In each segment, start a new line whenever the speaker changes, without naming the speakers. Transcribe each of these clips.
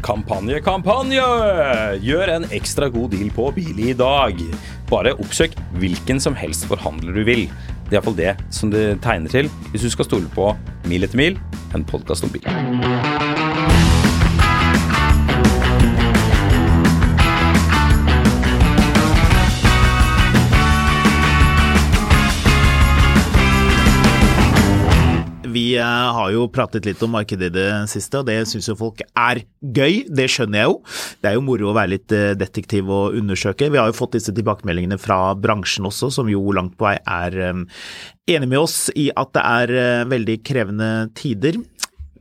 Kampanje, kampanje! Gjør en ekstra god deal på bil i dag. Bare oppsøk hvilken som helst forhandler du vil. Det er iallfall det som det tegner til hvis du skal stole på Mil etter mil, en podkast om bil.
Vi eh, har jo pratet litt om markedet i det siste, og det syns jo folk er gøy. Det skjønner jeg jo. Det er jo moro å være litt eh, detektiv og undersøke. Vi har jo fått disse tilbakemeldingene fra bransjen også, som jo langt på vei er eh, enig med oss i at det er eh, veldig krevende tider.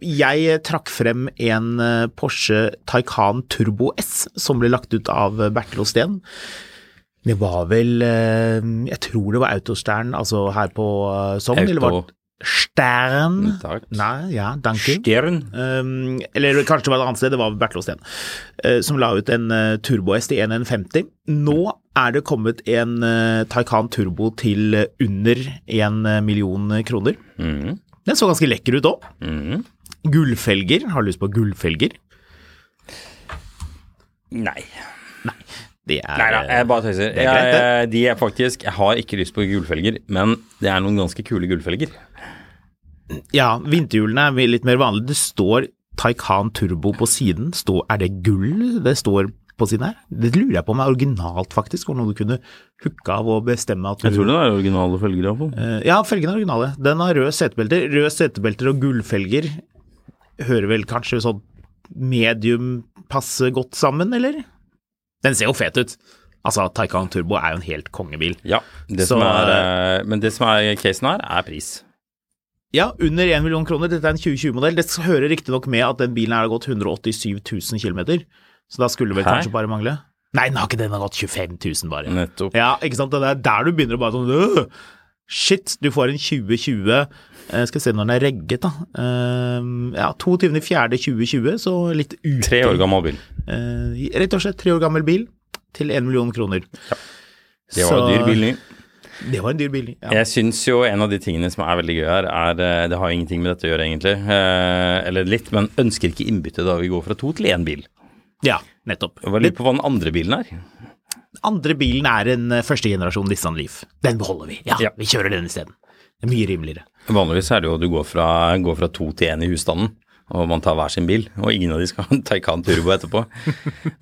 Jeg eh, trakk frem en eh, Porsche Taycan Turbo S som ble lagt ut av eh, Bertil Osten. Det var vel eh, Jeg tror det var Autostern, altså her på eh, Sogn. eller var
Auto-
det- Stern
Takk.
Nei, ja, danke.
Stern.
Um, eller kanskje det var et annet sted, det var Bertil Osten, eh, som la ut en eh, Turbo S til 1150. Nå er det kommet en eh, Taycan Turbo til eh, under 1 million kroner.
Mhm.
Den så ganske lekker ut òg. Gullfelger, har lyst på gullfelger.
Nei.
Det er eh,
Nei da, jeg bare tøyser.
er greit,
Jeg,
det.
jeg, de er faktisk Jeg har ikke lyst på gullfelger, men det er noen ganske kule gullfelger.
Ja, vinterhjulene er litt mer vanlige. Det står Taycan Turbo på siden. Stå, er det gull det står på siden her? Det lurer jeg på om er originalt, faktisk. Var det noe du kunne hooke av og bestemme at du
det er originale felger, iallfall.
Eh, Ja, felgene er originale. Den har røde setebelter. Røde setebelter og gullfelger hører vel kanskje sånn medium passe godt sammen, eller? Den ser jo fet ut. Altså, Taycan Turbo er jo en helt kongebil.
Ja. Det
Så,
som er, eh, men det som er casen her, er pris.
Ja, under 1 million kroner. Dette er en 2020-modell. Det hører riktignok med at den bilen her har gått 187 000 km, så da skulle det vel
Hæ?
kanskje bare mangle. Nei, den har ikke den har gått 25 000 bare.
Nettopp.
Ja, ikke sant? Det er der du begynner å bare sånn øh, Shit, du får en 2020 eh, Skal se når den er regget, da. Ehm, ja, 22.4.2020, så litt ute.
Tre år gammel bil.
Eh, rett og slett tre år gammel bil til én million kroner.
Det var
Så-
en dyr bil ny.
Det var en dyr bil. Ja.
Jeg syns jo en av de tingene som er veldig gøy her, er eh, Det har jo ingenting med dette å gjøre, egentlig. Eh, Eller litt, men ønsker ikke innbytte da vi går fra to til én bil.
ja, nettopp.
Jeg var litt på hva den andre bilen er.
Den andre bilen er en eh, første generasjon Nissan Leaf. Den beholder vi. Ja,
Ja.
vi kjører den isteden. Det er Mye rimeligere.
Vanligvis er det jo at du går fra, går fra to til én i husstanden, og man tar hver sin bil. Og ingen av de skal ha en Taycan Turbo etterpå.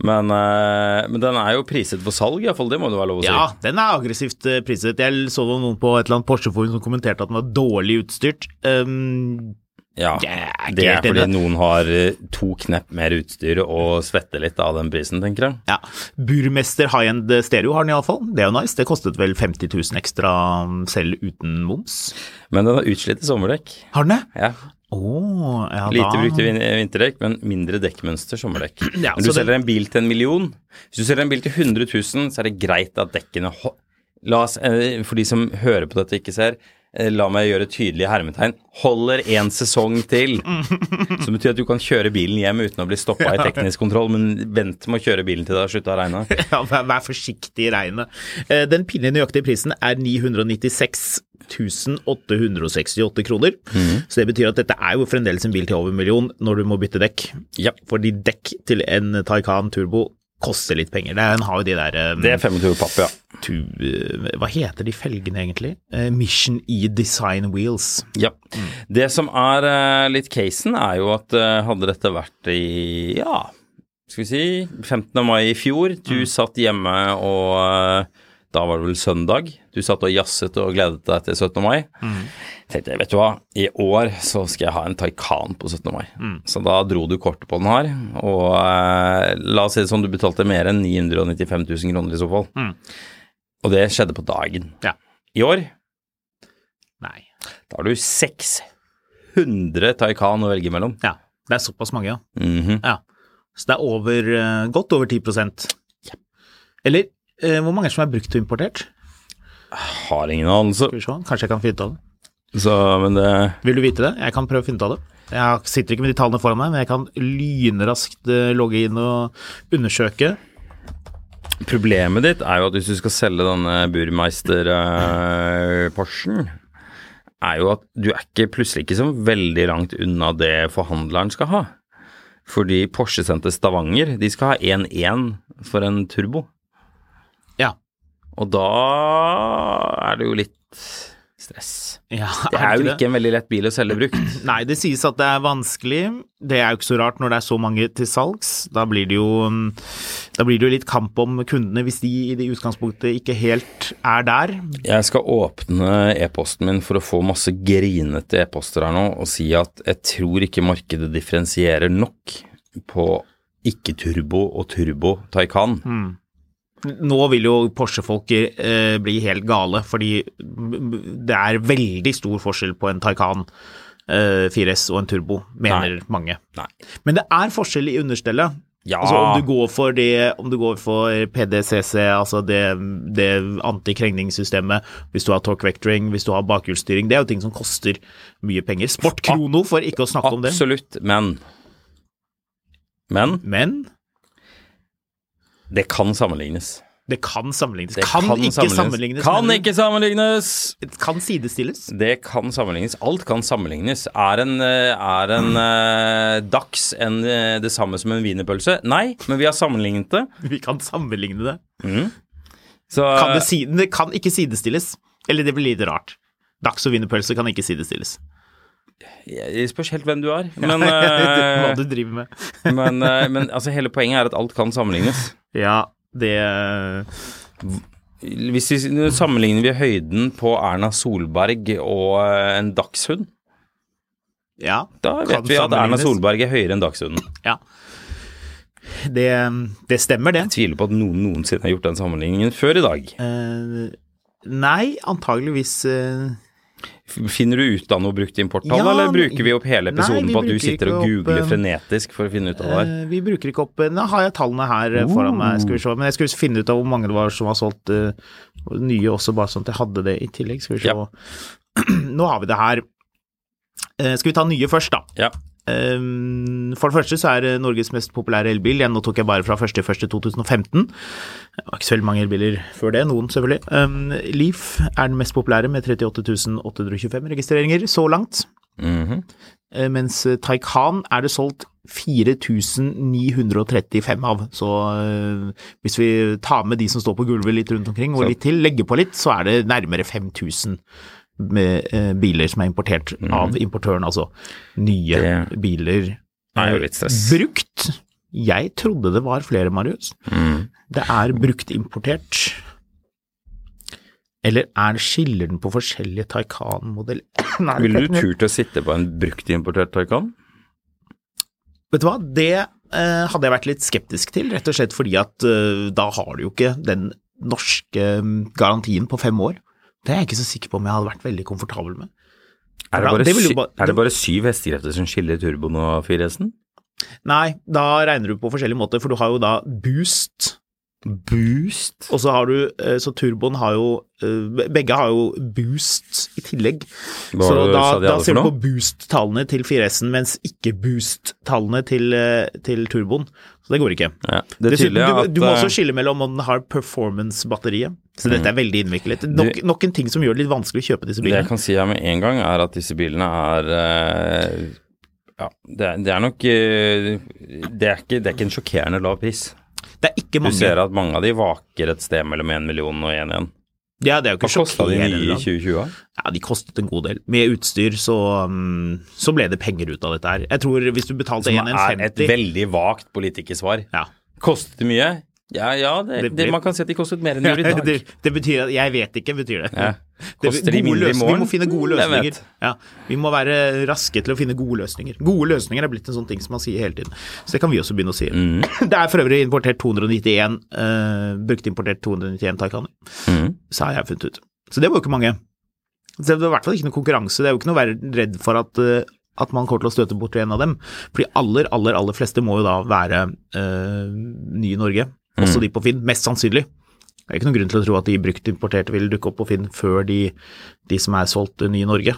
Men, eh, men den er jo priset for salg, iallfall. Det må det være lov å si.
Ja, den er aggressivt eh, priset. Jeg så noen på et eller annet Porsche-forum som kommenterte at den var dårlig utstyrt. Um,
Ja,
Jeg er ikke
Det er
helt enig.
fordi noen har eh, to knepp mer utstyr og svetter litt av den prisen, tenker jeg.
Ja. Burmester high-end stereo har den iallfall. Det er jo nice. Det kostet vel 50 000 ekstra um, selv uten moms.
Men den har utslitte sommerdekk.
Har den det?
Ja.
Å, ja
Lite
da.
brukte vin- vinterdekk, men mindre dekkmønster sommerdekk.
Ja,
Når du
så det-
selger en bil til en million, hvis du selger en bil til 100 000, så er det greit at dekkene ho- La oss, eh, for de som hører på dette og ikke ser, eh, la meg gjøre tydelige hermetegn. Holder én sesong til. Som betyr at du kan kjøre bilen hjem uten å bli stoppa i teknisk kontroll, men vent med å kjøre bilen til det har slutta å regne.
Ja, vær, vær forsiktig i regnet. Eh, Den pinlig nøyaktige prisen er 996 868 kroner.
Mhm.
Så det betyr at dette er jo fremdeles en bil til over en million når du må bytte dekk.
Ja.
Fordi dekk til en Taycan Turbo koster litt penger. Det er- Den har jo de der eh,
Det er 25 papp, ja.
tu, eh, Hva heter de felgene egentlig? Eh, Mission E Design Wheels.
Ja. Det som er eh, litt casen, er jo at eh, hadde dette vært i ja, skal vi si 15. mai i fjor, du satt hjemme og eh, da var det vel søndag. Du satt og jazzet og gledet deg til 17. mai. Tenkte jeg, vet du hva, i år så skal jeg ha en Taycan på 17. mai. Så da dro du kortet på den her, og eh, la oss si det sånn, du betalte mer enn 995 000 kroner i så fall. Og det skjedde på dagen.
Ja.
I år
Nei.
da har du 600 Taycan å velge mellom.
Ja. Det er såpass mange, ja.
Mhm.
ja. Så det er over, eh, godt over 10 Eller eh, hvor mange er det som er brukt og importert?
Har ingen anelse.
Skal vi se, Kanskje jeg kan finne ut av det.
Så, men det
Vil du vite det? Jeg kan prøve å finne ut av det. Jeg sitter ikke med de tallene foran meg, men jeg kan lynraskt eh, logge inn og undersøke.
Problemet ditt er jo at hvis du skal selge denne Burmeister-Porschen, er jo at du er ikke plutselig ikke så veldig langt unna det forhandleren skal ha. Fordi Porsche sendte Stavanger, de skal ha 1-1 for en turbo.
Ja.
Og da er det jo litt stress.
ja
Det er jo ikke en veldig lett bil å selge brukt.
Nei, det sies at det er vanskelig. Det er jo ikke så rart når det er så mange til salgs. Da blir det jo, mm, da blir det jo litt kamp om kundene hvis de i det utgangspunktet ikke helt er der.
Jeg skal åpne e-posten min for å få masse grinete e-poster her nå og si at jeg tror ikke markedet differensierer nok på ikke-turbo og turbo Taycan.
Mm. Nå vil jo Porsche-folk eh, bli helt gale, fordi det er veldig stor forskjell på en Taycan eh, 4S og en Turbo, mener mange.
Nei.
Men det er forskjell i understellet.
Ja.
Altså om du går for det, om du går for PDCC, altså det, det antikrengningssystemet, hvis du har torque vectoring, hvis du har bakhjulsstyring, det er jo ting som koster mye penger. Sport Krono, for ikke å snakke om det.
Absolutt, men Men
Men
det kan sammenlignes.
det kan sammenlignes.
Det
kan, ikke sammenlignes.
Kan
men
ikke sammenlignes!
det kan sidestilles.
Det kan sammenlignes. Alt kan sammenlignes. Er en, eh, er en
Mm.
eh, Dax en, eh, det samme som en wienerpølse? Nei, men vi har sammenlignet det.
Vi kan sammenligne det.
Så,
Kan det, si, det kan ikke sidestilles. Eller det blir litt rart. Dags- og wienerpølse kan ikke sidestilles.
Det spørs helt hvem du er. Men,
Hva
eh,
du driver med.
men, eh, men altså, hele poenget er at alt kan sammenlignes.
Ja, det
Hvis vi nå sammenligner vi høyden på Erna Solberg og eh, en dagshund,
Ja.
da
kan
vet vi at Erna
sammenlignes.
Solberg er høyere enn dagshunden.
Ja. Det, det stemmer, det.
Tviler på at noen noensinne har gjort den sammenligningen før i dag.
Eh, nei, antageligvis eh,
Finner du ut av noe brukt importtall,
Ja,
eller bruker vi opp hele
nei,
episoden
vi
på at du
bruker
sitter og
ikke opp,
googler
eh,
frenetisk for å finne ut av det her?
eh, Vi bruker ikke opp Nå har jeg tallene her eh, foran meg, skal vi se. Men jeg skulle finne ut av hvor mange det var som var solgt eh, nye også, bare sånn at jeg hadde det i tillegg. Skal vi se.
Ja.
Nå har vi det her. Eh, skal vi ta nye først, da?
Ja.
Ehm, For det første så er det Norges mest populære elbil. Ja, nå tok jeg bare fra 1.1.2015. Det var ikke så veldig mange elbiler før det, noen selvfølgelig. Ehm, Leaf er den mest populære med 38 825 registreringer så langt. Eh, Mens Taycan er det solgt 4935 av. Så eh, hvis vi tar med de som står på gulvet litt rundt omkring, og litt til, legger på litt, så er det nærmere 5000 med eh, biler som er importert av importøren, altså nye
Det
biler.
er jo litt stress.
Brukt. Jeg trodde det var flere, Marius.
Mm.
Det er bruktimportert. Eller er skiller den på forskjellige Taycan-modeller? Nei,
Ville
det
du
er-
turt å sitte på en bruktimportert Taycan?
Vet du hva, det eh, hadde jeg vært litt skeptisk til, rett og slett fordi at eh, da har du jo ikke den norske mm, garantien på fem år. Det er jeg ikke så sikker på om jeg hadde vært veldig komfortabel med.
Er det
Ja,
bare,
det vil jo
sy-
ba-
er det
det-
bare syv hestekrefter som skiller turboen og 4S-en?
Nei, da regner du på forskjellige måter, for du har jo da boost,
Boost?
og så har du eh, Så turboen har jo eh, Begge har jo boost i tillegg.
Hva
så
var det du
da,
sa de
da
hadde for
ser du
noe?
på boost-tallene til 4S-en, mens ikke boost-tallene til, eh, til turboen. Så det går ikke.
Ja, det er
Dessuten,
tydelig at
du, du må
eh, Mm.
også skille mellom om den har performance-batteriet. Så dette er veldig innviklet. Nok, nok en ting som gjør det litt vanskelig å kjøpe disse
Det jeg
bilene.
kan si her med en gang, er at disse bilene er eh, Ja, det er, det er nok eh, det er, ikke, det er ikke en sjokkerende lav pris.
Det er ikke
Du
mange.
ser at mange av de vaker et sted mellom én million og én igjen.
Ja, det er jo
Hva
ikke
kosta de nye
sjokkerende.
i
da.
2020? da?
Ja, de kostet en god del. Med utstyr så, um, så ble det penger ut av dette her. Jeg tror hvis du betalte
Som er et
1,50
veldig vagt politikersvar.
ja.
Kostet det mye? Ja, ja, det,
Det blir-
det, man kan si at de kostet mer enn de gjorde i
det,
dag.
det betyr at Jeg vet ikke, betyr det.
Ja.
Det-
Koster de
gode
mindre i
løs- Vi
morgen?
må finne gode
Mm, jeg vet.
løsninger. Ja, vi må være raske til å finne gode løsninger. Gode løsninger er blitt en sånn ting som man sier hele tiden. Så det kan vi også begynne å si.
Mm.
Det er for øvrig importert 291, eh, brukt importert 291 Taycaner.
Mm.
Så har jeg funnet ut. Så det var jo ikke mange. Så det var i hvert fall ikke noe konkurranse. Det er jo ikke noe å være redd for at eh, at man kommer til å støte bort en av dem. For de aller, aller, aller fleste må jo da være eh, nye i Norge,
Mm.
også de på Finn, mest sannsynlig. Det er ikke noen grunn til å tro at de bruktimporterte vil dukke opp på Finn før de, de som er solgt eh, nye i Norge.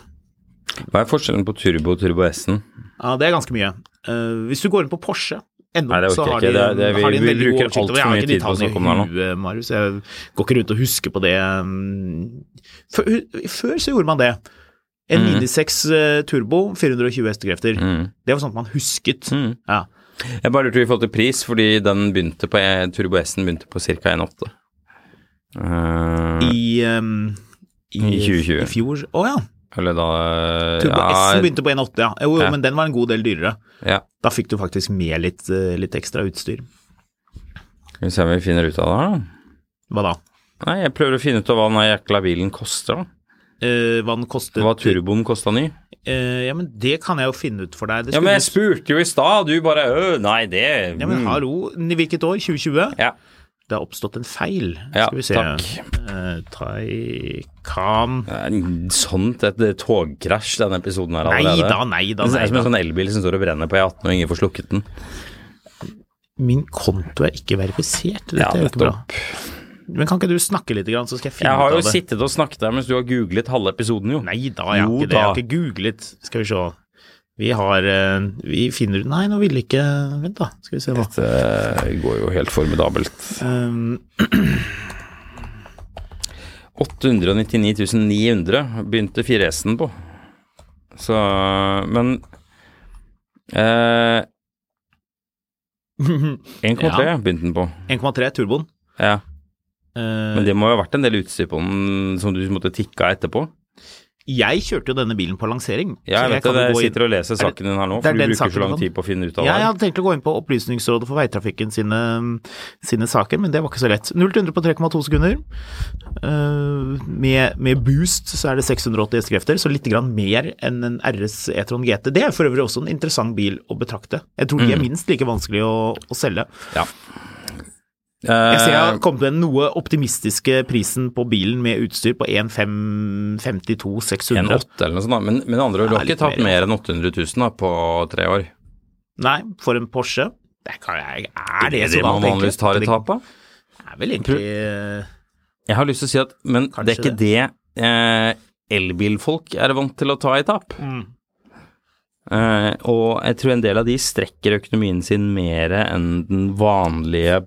Hva er forskjellen på Turbo og Turbo S-en?
Ja, det er ganske mye. Eh, hvis du går inn på Porsche ennå,
Nei, det
så
orker
har de,
jeg ikke. Det er- det er- vi-
har de en
vi
veldig god
bruker
oversikt
alt
over Jeg
for
har
mye
ikke de
tid på å
tallene i
snakke om det her nå.
huet, Marius. Jeg går ikke rundt og husker på det. Før, før så gjorde man det. En
Mm.
96 eh, Turbo, 420 hestekrefter. Det var sånt man
Mm.
husket. Ja.
Jeg bare lurte i forhold til pris, fordi den begynte på, eh, Turbo S-en begynte på ca. 1,8. Eh,
I, ehm,
I 2020.
I fjor Å ja.
eller da eh,
Turbo
ja,
S begynte på 1,8, ja. Jo, jo,
Ja.
men den var en god del dyrere.
Ja.
Da fikk du faktisk med litt, eh, litt ekstra utstyr.
Skal vi se om vi finner ut av det her, da.
Hva da?
Nei, jeg prøver å finne ut av hva den her jækla bilen koster, da.
Eh, hva den kostet
Hva turboen kosta ny.
Eh, ja, men det kan jeg jo finne ut for deg. Det
Ja, men jeg
skulle-
spurte jo i stad, du bare øh, nei, det
ja, men
mm.
hallo, i hvilket år? 2020?
Ja.
Det har oppstått en feil.
Ja,
Skal vi se.
takk.
Eh, Taycan
Det er en- Sånt et togkrasj, denne episoden her
Nei
allerede.
da, nei da.
Det
Nei
er som en
da.
sånn elbil som står og brenner på E18 og ingen får slukket den.
Min konto er ikke verifisert. Dette
Ja,
er jo ikke bra.
nettopp.
Men kan ikke du snakke litt, grann, så skal jeg finne
Jeg
ut
har
av
jo
det?
sittet og snakket der mens du har googlet halve episoden, jo.
Nei da, jeg har
Jo
ikke det. Jeg har
da.
ikke googlet. Skal vi se. Vi har eh, Vi finner ut Nei, nå ville ikke Vent, da. Skal vi se hva
Dette
eh,
går jo helt formidabelt.
um,
899 900 begynte 4S-en på. Så Men eh, 1,3
Ja.
begynte den på.
1,3 turboen.
Ja.
Eh,
Men det må jo ha vært en del utstyr på den som du måtte tikke av etterpå?
Jeg kjørte jo denne bilen på lansering.
Ja, jeg vet det. Jeg sitter og leser
det-
saken din her nå,
det er
for du
den
bruker
saken
så lang
du kan-
tid på å finne ut av
Ja,
det.
jeg hadde tenkt å gå inn på Opplysningsrådet for veitrafikken sine, sine saker, men det var ikke så lett. 0 til 100 på 3,2 sekunder. Eh, med, med boost så er det 680 hestekrefter, så litt grann mer enn en RS E-tron GT. Det er for øvrig også en interessant bil å betrakte. Jeg tror de
Mm.
er minst like vanskelig å, å selge. Jeg ser jeg har
Eh,
kommet med den noe optimistiske prisen på bilen med utstyr på 1552
Eh, en
600.
åtte eller noe sånt, da. Men, men andre ord, du har
Ja,
ikke
litt mer,
tatt mer enn 800 000 da, på tre år?
Nei, for en Porsche. Det kan jeg, er det,
Det er
så
det man
galt, egentlig?
vanligvis tar
Det
et tap av?
er vel egentlig eh,
Jeg har lyst til å si at Men det er
Kanskje
ikke det, eh, elbilfolk er vant til å ta i tap. Eh, og jeg tror en del av de strekker økonomien sin mer enn den vanlige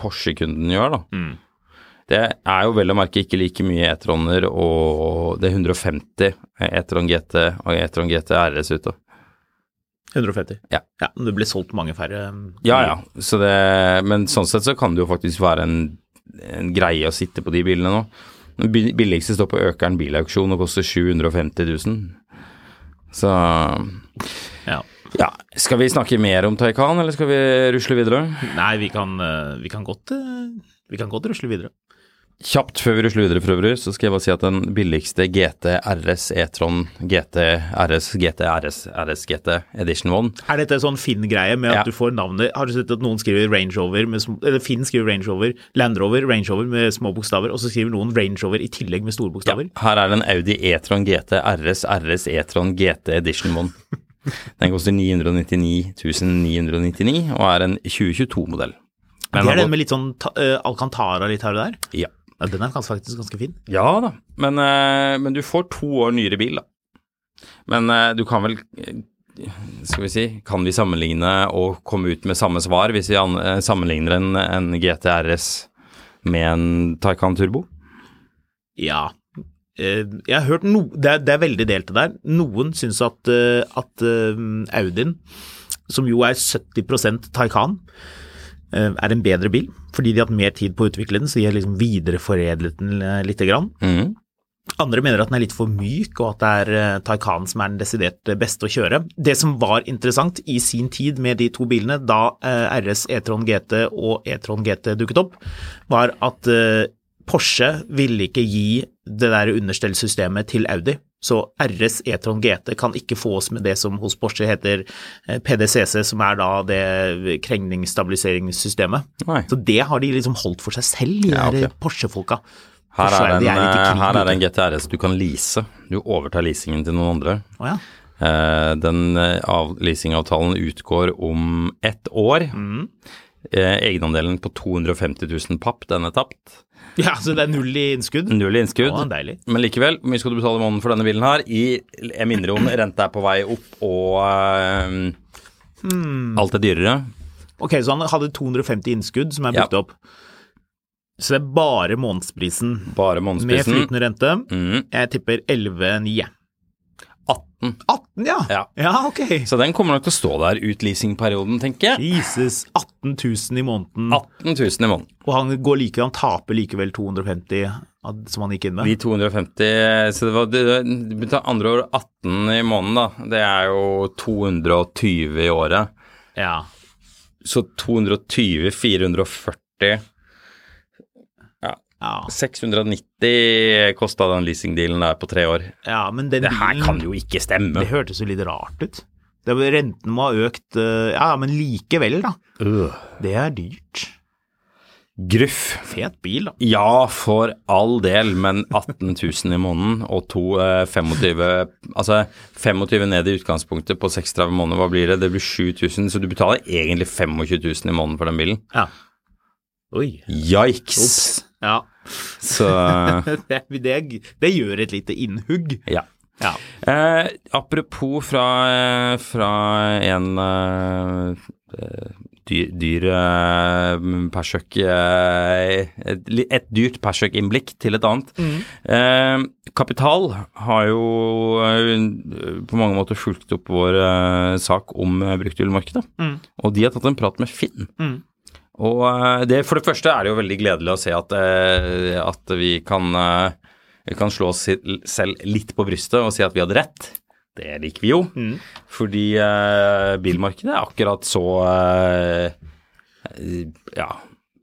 Porsche-kunden gjør, da. Det er jo vel å merke ikke like mye E-troner og det er 150 E-tron GT og E-tron GT RS ute.
150.
Ja.
ja men det ble solgt mange færre. um,
Ja ja, så det, men sånn sett så kan det jo faktisk være en, en greie å sitte på de bilene nå. Den bi- billigste står på Økeren bilauksjon og koster 750 000. Så
Ja.
ja, skal vi snakke mer om Taycan, eller skal vi rusle videre?
Nei, vi kan, eh, vi kan godt eh, vi kan godt rusle videre.
Kjapt før vi rusler videre, for øvrig, så skal jeg bare si at den billigste GT RS E-tron GT RS GT RS RS GT Edition 1
Er dette en sånn Finn-greie med at
Ja.
du får navnet Har du sett at noen skriver Range Rover med sm- Eller Finn skriver Range Rover, Land Rover, Range Rover med små bokstaver, og så skriver noen Range Rover i tillegg med store
Ja,
bokstaver?
her er det en Audi E-tron GT RS RS E-tron GT Edition 1. Den koster 999 999 og er en 2022-modell.
det er den med litt sånn ta, eh, Alcantara litt her og der.
ja.
Ja, den er gans- faktisk ganske fin.
ja da, men, eh, men du får to år nyere bil, da. Men eh, du kan vel eh, Skal vi si, kan vi sammenligne og komme ut med samme svar hvis vi an- eh, sammenligner en, en GT RS med en Taycan Turbo?
Ja. Eh, Jeg har hørt no, det, er, det er veldig delte der. Noen syns at, eh, at eh, Audien, som jo er 70 Taycan, eh, er en bedre bil. Fordi de har hatt mer tid på å utvikle den, så de har liksom videreforedlet den eh, lite grann.
Mhm.
Andre mener at den er litt for myk, og at det er eh, Taycan som er den desidert beste å kjøre. Det som var interessant i sin tid med de to bilene, da eh, RS E-tron GT og E-tron GT dukket opp, var at eh, Porsche ville ikke gi det der understellsystemet til Audi. Så RS E-tron GT kan ikke fås med det som hos Porsche heter eh, PDCC, som er da det krengningsstabiliseringssystemet.
Nei.
Så det har de liksom holdt for seg selv, de
Ja,
der
ok.
Porsche-folka.
Her
Porsche,
er,
de
det en, eh,
litt i krig,
her er det en
vet du.
GTRS du kan lease. Du overtar leasingen til noen andre.
Å ja.
Eh, Eh, Den eh, av- leasingavtalen utgår om ett år.
Mm.
Eh, Egenandelen på 250 000 papp, den er tapt.
Ja, så det er null i innskudd?
Null i innskudd.
Å, deilig.
Men likevel, hvor mye skal du betale i måneden for denne bilen her? I, jeg minner om renta er på vei opp, og eh,
Hmm.
alt er dyrere.
Ok, så han hadde 250 innskudd som er
Ja.
brukt opp. Så det er bare månedsprisen
Bare
med
månedsprisen.
flytende rente.
Mm,
Jeg tipper 11,9.
18.
18, ja.
Ja.
ok.
Så den kommer nok til å stå der ut leasingperioden, tenker jeg.
Jesus, 18 000 i måneden.
18 000 i måneden.
Og han går like, han taper likevel 250 av- som han gikk inn
De
med.
250 Så det var det- det begynte andre år 18 i måneden, da. Det er jo 220 i året.
Ja.
Så 220, 440
Ja.
690 kosta den leasingdealen der på tre år.
ja, men den
Det her
bilen-
kan jo ikke stemme.
Det hørtes jo litt rart ut. Det, var- renten må ha økt eh, Ja, men likevel, da. Det er dyrt.
Gruff.
Fet bil, da.
Ja, for all del, men 18 000 i måneden og to, eh, 25 Altså 25 ned i utgangspunktet på 36 måneder, hva blir det? Det blir 7000, så du betaler egentlig 25 000 i måneden for den bilen.
Ja. Oi.
Yikes!
Ja.
Så
Det, det, det gjør et lite innhugg.
ja.
Ja.
Eh, apropos fra, fra en eh, dyr, dyr eh, persøk eh, et, li- et dyrt persøkinnblikk til et annet. Eh, Kapital har jo eh, på mange måter fulgt opp vår eh, sak om eh, bruktbilmarkedet. Og de har tatt en prat med Finn. Og eh, det, for det første er det jo veldig gledelig å se at, eh, at vi kan, eh, vi kan slå oss selv litt på brystet og si at vi hadde rett. Det liker vi jo. Fordi eh, bilmarkedet er akkurat så eh, ja,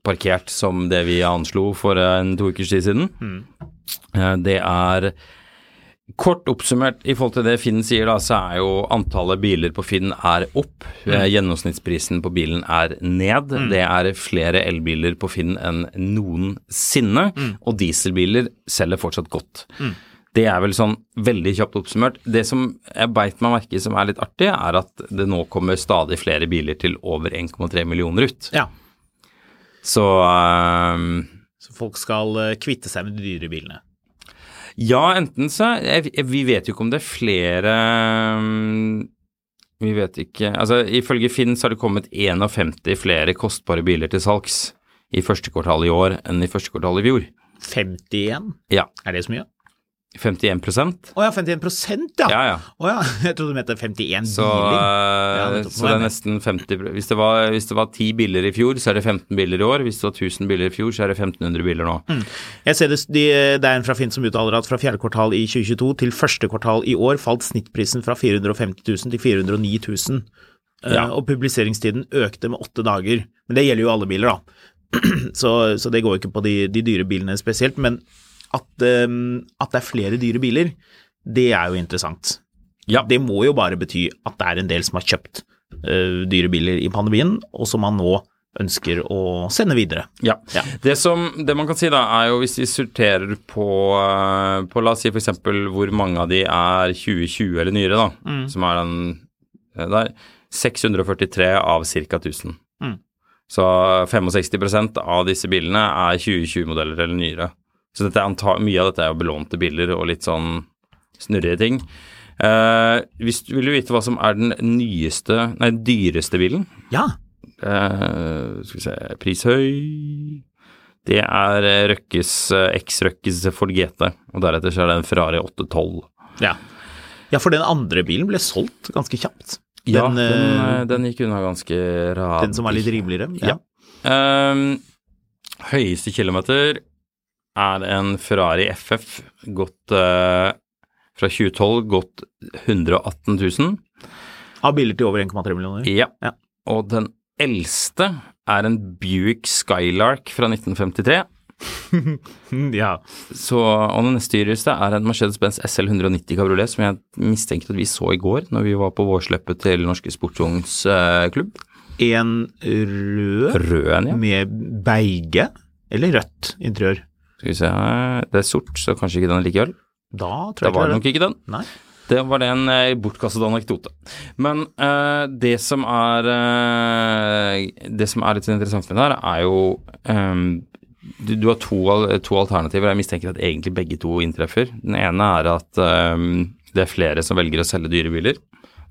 parkert som det vi anslo for eh, en to ukers tid siden. Eh, det er Kort oppsummert i forhold til det Finn sier, da, så er jo antallet biler på Finn er opp. Eh, Gjennomsnittsprisen på bilen er ned. Det er flere elbiler på Finn enn noensinne. Og dieselbiler selger fortsatt godt. Det er vel sånn veldig kjapt oppsummert. Det som jeg beit meg merke i som er litt artig, er at det nå kommer stadig flere biler til over 1,3 millioner ut.
ja.
Så eh,
Så folk skal eh, kvitte seg med de dyre bilene.
Ja, enten så jeg, jeg- Vi vet jo ikke om det er flere mm, Vi vet ikke Altså, ifølge Finn så har det kommet 51 flere kostbare biler til salgs i første kvartal i år enn i første kvartal i fjor.
51?
Ja.
Er det så mye?
51
Å ja, 51 ja.
Ja, ja.
Å ja, jeg trodde du mente 51
Så,
biler.
eh,
nettopp.
så det er nesten 50 pro- hvis det, var, hvis det var 10 biler i fjor, så er det 15 biler i år. Hvis det var 1000 biler i fjor, så er det 1500 biler nå.
Jeg ser det, de, eh, det er en fra Finn som uttaler at fra fjerde kvartal i 2022 til første kvartal i år falt snittprisen fra 450 000 til 409 000. eh,
Ja.
Og publiseringstiden økte med åtte dager. Men det gjelder jo alle biler, da. Så, så det går jo ikke på de, de dyre bilene spesielt. Men at, eh, at det er flere dyre biler, det er jo interessant.
Ja.
Det må jo bare bety at det er en del som har kjøpt eh, dyre biler i pandemien, og som man nå ønsker å sende videre.
Ja.
Ja.
Det, som, det man kan si da, er jo hvis vi sorterer på, eh, på la oss si f.eks. hvor mange av de er 2020 eller nyere, da, som er den eh, der, 643 av ca. 1000. Så 65 av disse bilene er 2020-modeller eller nyere. Så dette er anta mye av dette er jo belånte biler og litt sånn snurrige ting. Eh, hvis du vil du vite hva som er den nyeste, nei, dyreste bilen,
Ja,
Eh, skal vi se Prishøy Det er eh, Røkkes eh, X-Røkkes Ford GT, og deretter så er det en Ferrari 812.
Ja. ja, for den andre bilen ble solgt ganske kjapt.
Ja,
Den,
den,
eh,
eh, den gikk unna ganske rad.
Den som var litt rimeligere.
Ja. Ehm, høyeste kilometer er en Ferrari FF gått eh, fra 2012 gått 118 000.
Av biler til over 1,3 millioner.
Ja.
Ja.
Og den eldste er en Buick Skylark fra 1953.
Ja.
Så, og den neste dyreste er en Mercedes-Benz SL 190 Cabriolet, som jeg mistenker at vi så i går når vi var på vårsleppet til Norske Sportsvognsklubb.
En rød
Rød en, ja.
med beige eller rødt interiør.
Skal vi se Det er sort, så kanskje ikke den likevel.
Da tror
Da
jeg
var det
ikke
nok ikke den.
Nei.
Det var det en eh, bortkastet anekdote. Men eh, det som er eh, Det som er litt interessant med det her, er jo ehm, du, du har to, al- to alternativer. Jeg mistenker at egentlig begge to inntreffer. Den ene er at ehm, det er flere som velger å selge dyre biler,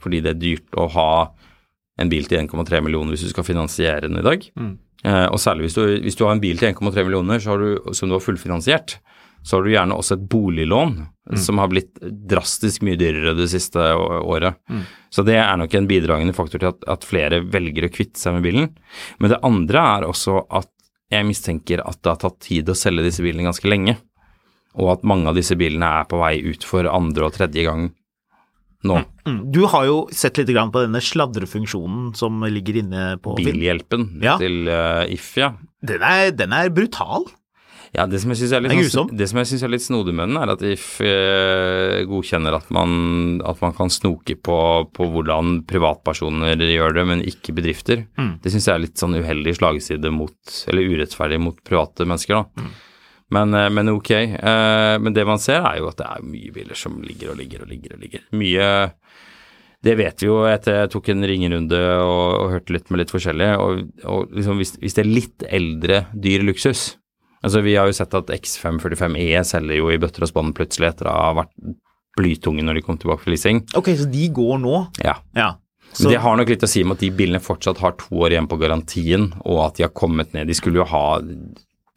fordi det er dyrt å ha en bil til 1,3 millioner hvis du skal finansiere den i dag. Eh, og særlig hvis du, hvis du har en bil til 1,3 millioner så har du, som du har fullfinansiert, så har du gjerne også et boliglån som har blitt drastisk mye dyrere det siste å- året. Så det er nok en bidragende faktor til at, at flere velger å kvitte seg med bilen. Men det andre er også at jeg mistenker at det har tatt tid å selge disse bilene ganske lenge, og at mange av disse bilene er på vei ut for andre og tredje gang nå.
Mm. Du har jo sett litt grann på denne sladrefunksjonen som ligger inne på Finn.
Bilhjelpen
Ja.
til uh, If, ja.
Den er, den er brutal.
Ja, det som jeg syns er litt,
Det er
sånn-
grusom.
det som jeg synes er litt snodig med den, er at de f- eh, godkjenner at man, at man kan snoke på, på hvordan privatpersoner gjør det, men ikke bedrifter.
Mm.
Det syns jeg er litt sånn uheldig slagside mot, eller urettferdig mot private mennesker, da.
Mm.
Men, eh, men ok. eh, Men det man ser, er jo at det er mye biler som ligger og ligger og ligger og ligger. Mye det vet vi jo etter jeg tok en ringerunde og, og hørte litt med litt forskjellige. Og, og liksom hvis, hvis det er litt eldre dyr luksus Altså Vi har jo sett at X545E E selger jo i bøtter og spann plutselig etter å ha vært blytunge når de kom tilbake fra leasing.
Ok, så de går nå.
Ja.
Ja.
Men
Så,
det har nok litt å si med at de bilene fortsatt har to år igjen på garantien, og at de har kommet ned. De skulle jo ha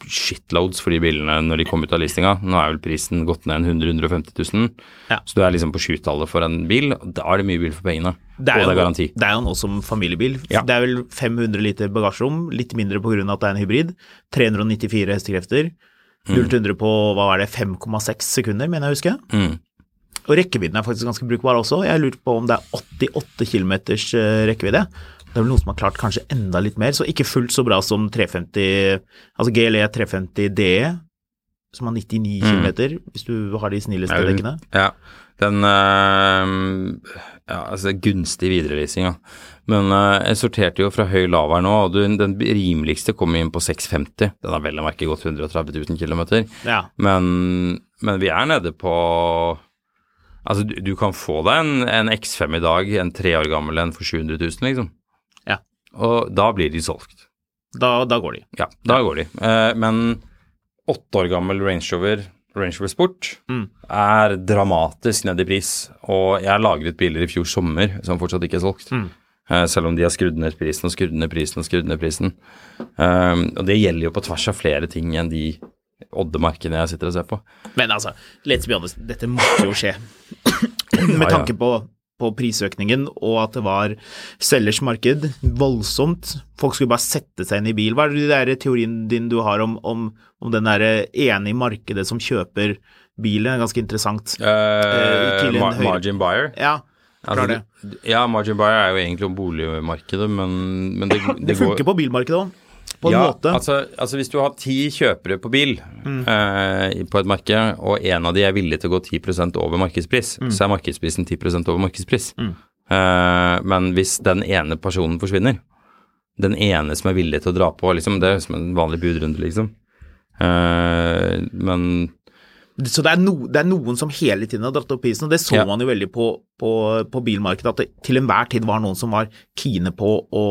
shitloads for de bilene når de kom ut av leasinga. Nå er vel prisen gått ned en 100 150 000,
Ja.
så du er liksom på sjutallet for en bil. og Da er det mye bil for pengene,
det er,
og det
jo,
er garanti.
det er jo nå som familiebil.
Ja.
Det er vel 500 liter bagasjerom, litt mindre pga. at det er en hybrid. 394 hestekrefter.
Mm.
0-100 på hva er det, 5,6 sekunder, mener jeg å huske.
Mm.
Og rekkevidden er faktisk ganske brukbar også. Jeg lurer på om det er 88 km rekkevidde. Det er vel noen som har klart kanskje enda litt mer, så ikke fullt så bra som 350, altså GLE 350 DE, E, som har
Mm.
99 km, hvis du har de snilleste
Er jo-
dekkene.
Ja. Den ehm, ja, altså det er gunstig videreleasing, ja. Men eh, jeg sorterte jo fra høy lav her nå, og du, den rimeligste kom inn på 650. Den har vel å merke gått 130 000 km.
Ja.
Men, men vi er nede på Altså, du, du kan få deg en, en X5 i dag, en tre år gammel en for 700 000, liksom.
Ja.
Og da blir de solgt.
Da, da går de.
Ja, da går de. Eh, men åtte år gammel Range Rover, Range Rover Sport, er dramatisk ned i pris. Og jeg lagret biler i fjor sommer som fortsatt ikke er solgt. Eh, selv om de har skrudd ned prisen og skrudd ned prisen og skrudd ned prisen. Um, og det gjelder jo på tvers av flere ting enn de oddemarkene jeg sitter og ser på.
Men altså, let's be honest, dette måtte jo skje. Med
ja.
tanke på, på prisøkningen og at det var selgers marked, voldsomt. Folk skulle bare sette seg inn i bil. Hva er det der teorien din du har om, om, om den der ene i markedet som kjøper bilen? Det er ganske interessant.
Eh,
til en
mar
høyre-
margin buyer.
Ja,
Altså,
klar det.
d- ja, margin buyer er jo egentlig om boligmarkedet, men, men det, det,
Det
går-
funker på bilmarkedet òg, på en
ja,
måte. Mm.
Altså, altså hvis du har ti kjøpere på bil eh, i- på et marked, og en av de er villig til å gå 10 over markedspris,
Mm.
så er markedsprisen 10 over markedspris. Eh, men hvis den ene personen forsvinner, den ene som er villig til å dra på, liksom, det er som en vanlig budrunde, liksom. Eh, men
Så det er, no, det er noen som hele tiden har dratt opp prisen, og det så
Ja.
man jo veldig på, på, på bilmarkedet, at det til enhver tid var noen som var kine på å,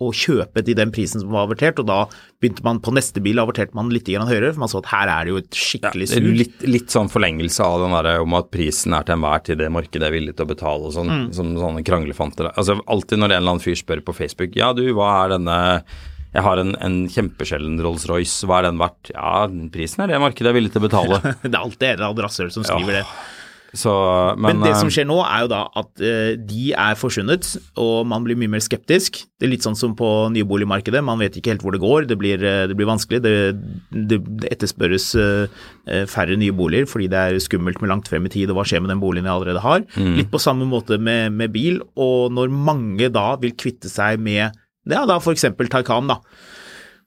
å kjøpe til den prisen som var avertert, og da begynte man på neste bil, averterte man litt grann høyere, for man så at her er det jo et skikkelig
det er
sug.
litt, litt sånn forlengelse av den der om at prisen er til enhver tid det markedet er villig til å betale og sånn.
Mm.
Som sånne kranglefanter. Altså alltid når en eller annen fyr spør på Facebook Ja, du, hva er denne Jeg har en, en kjempesjelden Rolls-Royce, hva er den verdt? Ja, prisen er det markedet er villig til å betale.
Det er alltid en eller annen rasshøl som skriver det.
Så, men,
Men det som
eh,
skjer nå, er jo da at eh, de er forsvunnet, og man blir mye mer skeptisk. Det er litt sånn som på nyboligmarkedet, man vet ikke helt hvor det går, det blir, eh, det blir vanskelig. Det, det, det etterspørres eh, eh, færre nye boliger fordi det er skummelt med langt frem i tid, og hva skjer med den boligen jeg allerede har. Litt på samme måte med, med bil, og når mange da vil kvitte seg med ja, da for eksempel Taycan, da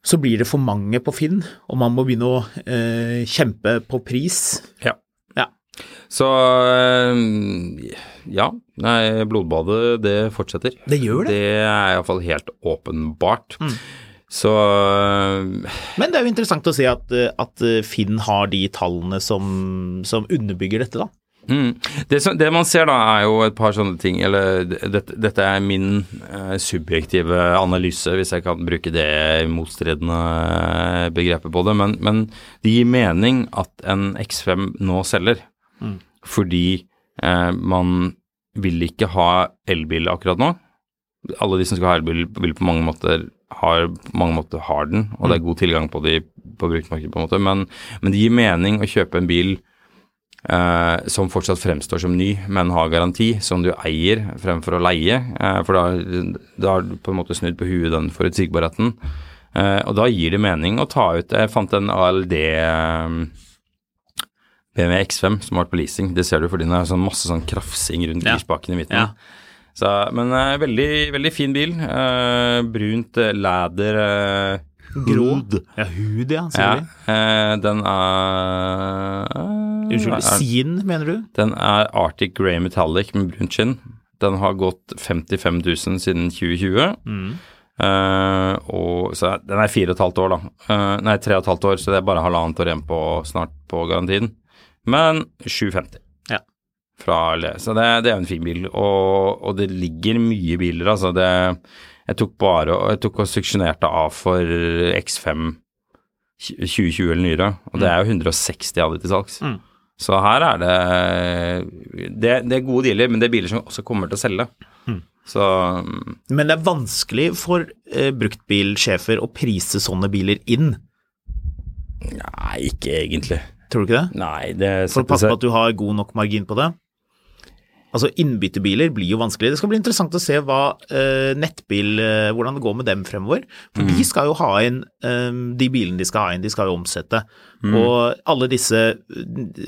så blir det for mange på Finn, og man må begynne å eh, kjempe på pris.
ja.
Ja,
Så eh, ja. Nei, blodbadet, det fortsetter.
Det gjør det. Mm.
Det er iallfall helt åpenbart. Så eh,
Men det er jo eh, interessant å se at, at Finn har de tallene som, som underbygger dette, da.
Det, som, det man ser da, er jo et par sånne ting Eller dette, dette er min eh, subjektive analyse, hvis jeg kan bruke det motstridende begrepet på det. Men, men det gir mening at en X5 nå selger, fordi eh, man vil ikke ha elbil akkurat nå. Alle de som skal ha elbil, vil på mange måter har, på mange måter har den, og det er god tilgang på de på bruktmarkedet, på en måte. Men, men det gir mening å kjøpe en bil eh, som fortsatt fremstår som ny, men har garanti, som du eier fremfor å leie. Eh, for da, da har du på en måte snudd på huet den forutsigbarheten. Eh, og da gir det mening å ta ut Jeg fant en ALD eh, BMW X5 som har vært på leasing. Det ser du fordi den har sånn masse sånn krafsing rundt
Ja.
girspaken i midten.
Ja.
Så, men eh, veldig, veldig fin bil. Eh, brunt eh, læder. Eh,
Hud. Ja, hud, ja.
ja,
Sorry.
eh, den er
Unnskyld.
er-
Sin, mener du?
Den er Arctic Grey Metallic med brunt skinn. Den har gått 55 000 siden 2020. Eh, og, så er- den er fire og et halvt år, da. Eh, nei, tre og et halvt år, så det er bare halvannet år igjen på, snart på garantien. Men 750
Ja.
fra Le. Så det, det er jo en fin bil. Og, og det ligger mye biler, altså. Det, jeg tok bare og- Jeg tok og suksjonerte av for X5 2020 eller nyere, og det er jo 160 av de til salgs. Så her er det, det Det er gode dealer, men det er biler som også kommer til å selge.
Hmm.
Så mm,
Men det er vanskelig for eh, bruktbilsjefer å prise sånne biler inn,
Nei, ikke egentlig.
tror du ikke det?
Nei, det
For å passe på at du har god nok margin på det. Altså Innbyttebiler blir jo vanskelig. Det skal bli interessant å se hva eh, nettbil, eh, hvordan det går med dem fremover. For
Mm.
De skal jo ha inn eh, de bilene de skal ha inn, de skal jo omsette.
Mm.
Og alle disse eh,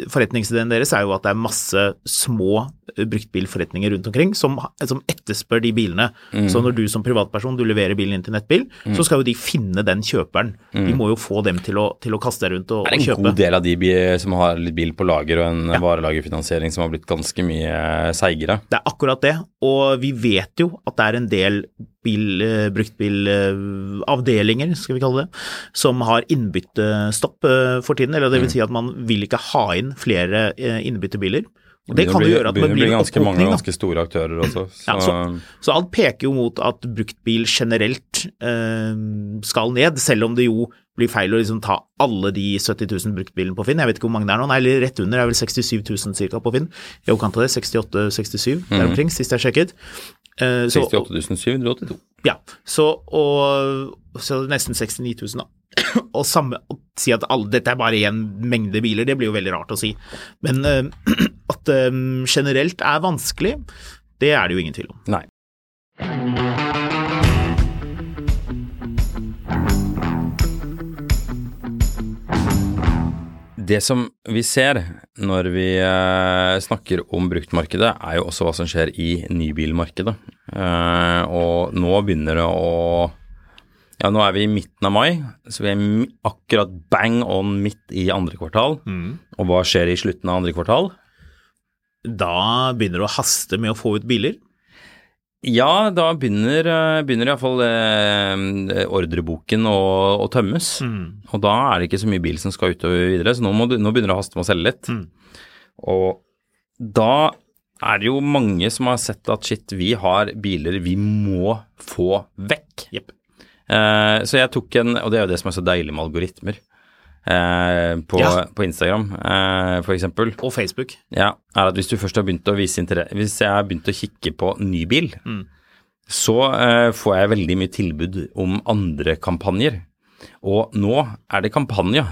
forretningsideene deres er jo at det er masse små eh, bruktbilforretninger rundt omkring som, som etterspør de bilene.
Mm.
Så når du som privatperson du leverer bilen inn til nettbil, så skal jo de finne den kjøperen. De må jo få dem til å, til å kaste seg rundt og,
det Mm. er
og
en
kjøpe.
god del av de bi- som har litt bil på lager og en varelagerfinansiering som har blitt ganske mye eh, seigere.
Det er akkurat det, og vi vet jo at det er en del bil, eh, bruktbilavdelinger, skal vi kalle det, som har innbyttestopp eh, for tiden. Eller det vil si at man vil ikke ha inn flere eh, innbyttebiler. Og det
Begynner
kan
å bli-
jo gjøre at det
begynner å bli
blir en
ganske mange
opphopning. da.
ganske store aktører også. Så,
Ja, så, så alt peker jo mot at bruktbil generelt eh, skal ned, selv om det jo blir feil å liksom ta alle de 70 000 bruktbilene på Finn. Jeg vet ikke hvor mange det er nå, nei, eller rett under, det er vel 67 000 cirka på Finn. I overkant av det, 68-67 der omkring, sist jeg sjekket. Eh, så-
68 782.
ja, så, og, så nesten 69 000 da. Og samme, å si at alle, dette er bare en mengde biler, det blir jo veldig rart å si. Men eh, at det generelt er vanskelig, det er det jo ingen tvil om.
Nei. Det som vi ser når vi eh, snakker om bruktmarkedet, er jo også hva som skjer i nybilmarkedet. Eh, og nå begynner det å Ja, nå er vi i midten av mai, så vi er mi- akkurat bang on midt i andre kvartal. Og hva skjer i slutten av andre kvartal?
Da begynner det å haste med å få ut biler.
Ja, da begynner, eh, begynner iallfall eh, ordreboken å, å tømmes. Og da er det ikke så mye bil som skal utover videre, så nå, må, du- nå begynner det å haste med å selge litt. Og da er det jo mange som har sett at shit, vi har biler vi må få vekk.
Jepp.
Eh, så jeg tok en, og det er jo det som er så deilig med algoritmer, eh, på,
Ja.
på Instagram eh, for eksempel.
Og Facebook.
Ja, er at hvis du først har begynt å vise interesse Hvis jeg har begynt å kikke på ny bil, så eh, får jeg veldig mye tilbud om andre kampanjer. Og nå er det kampanje.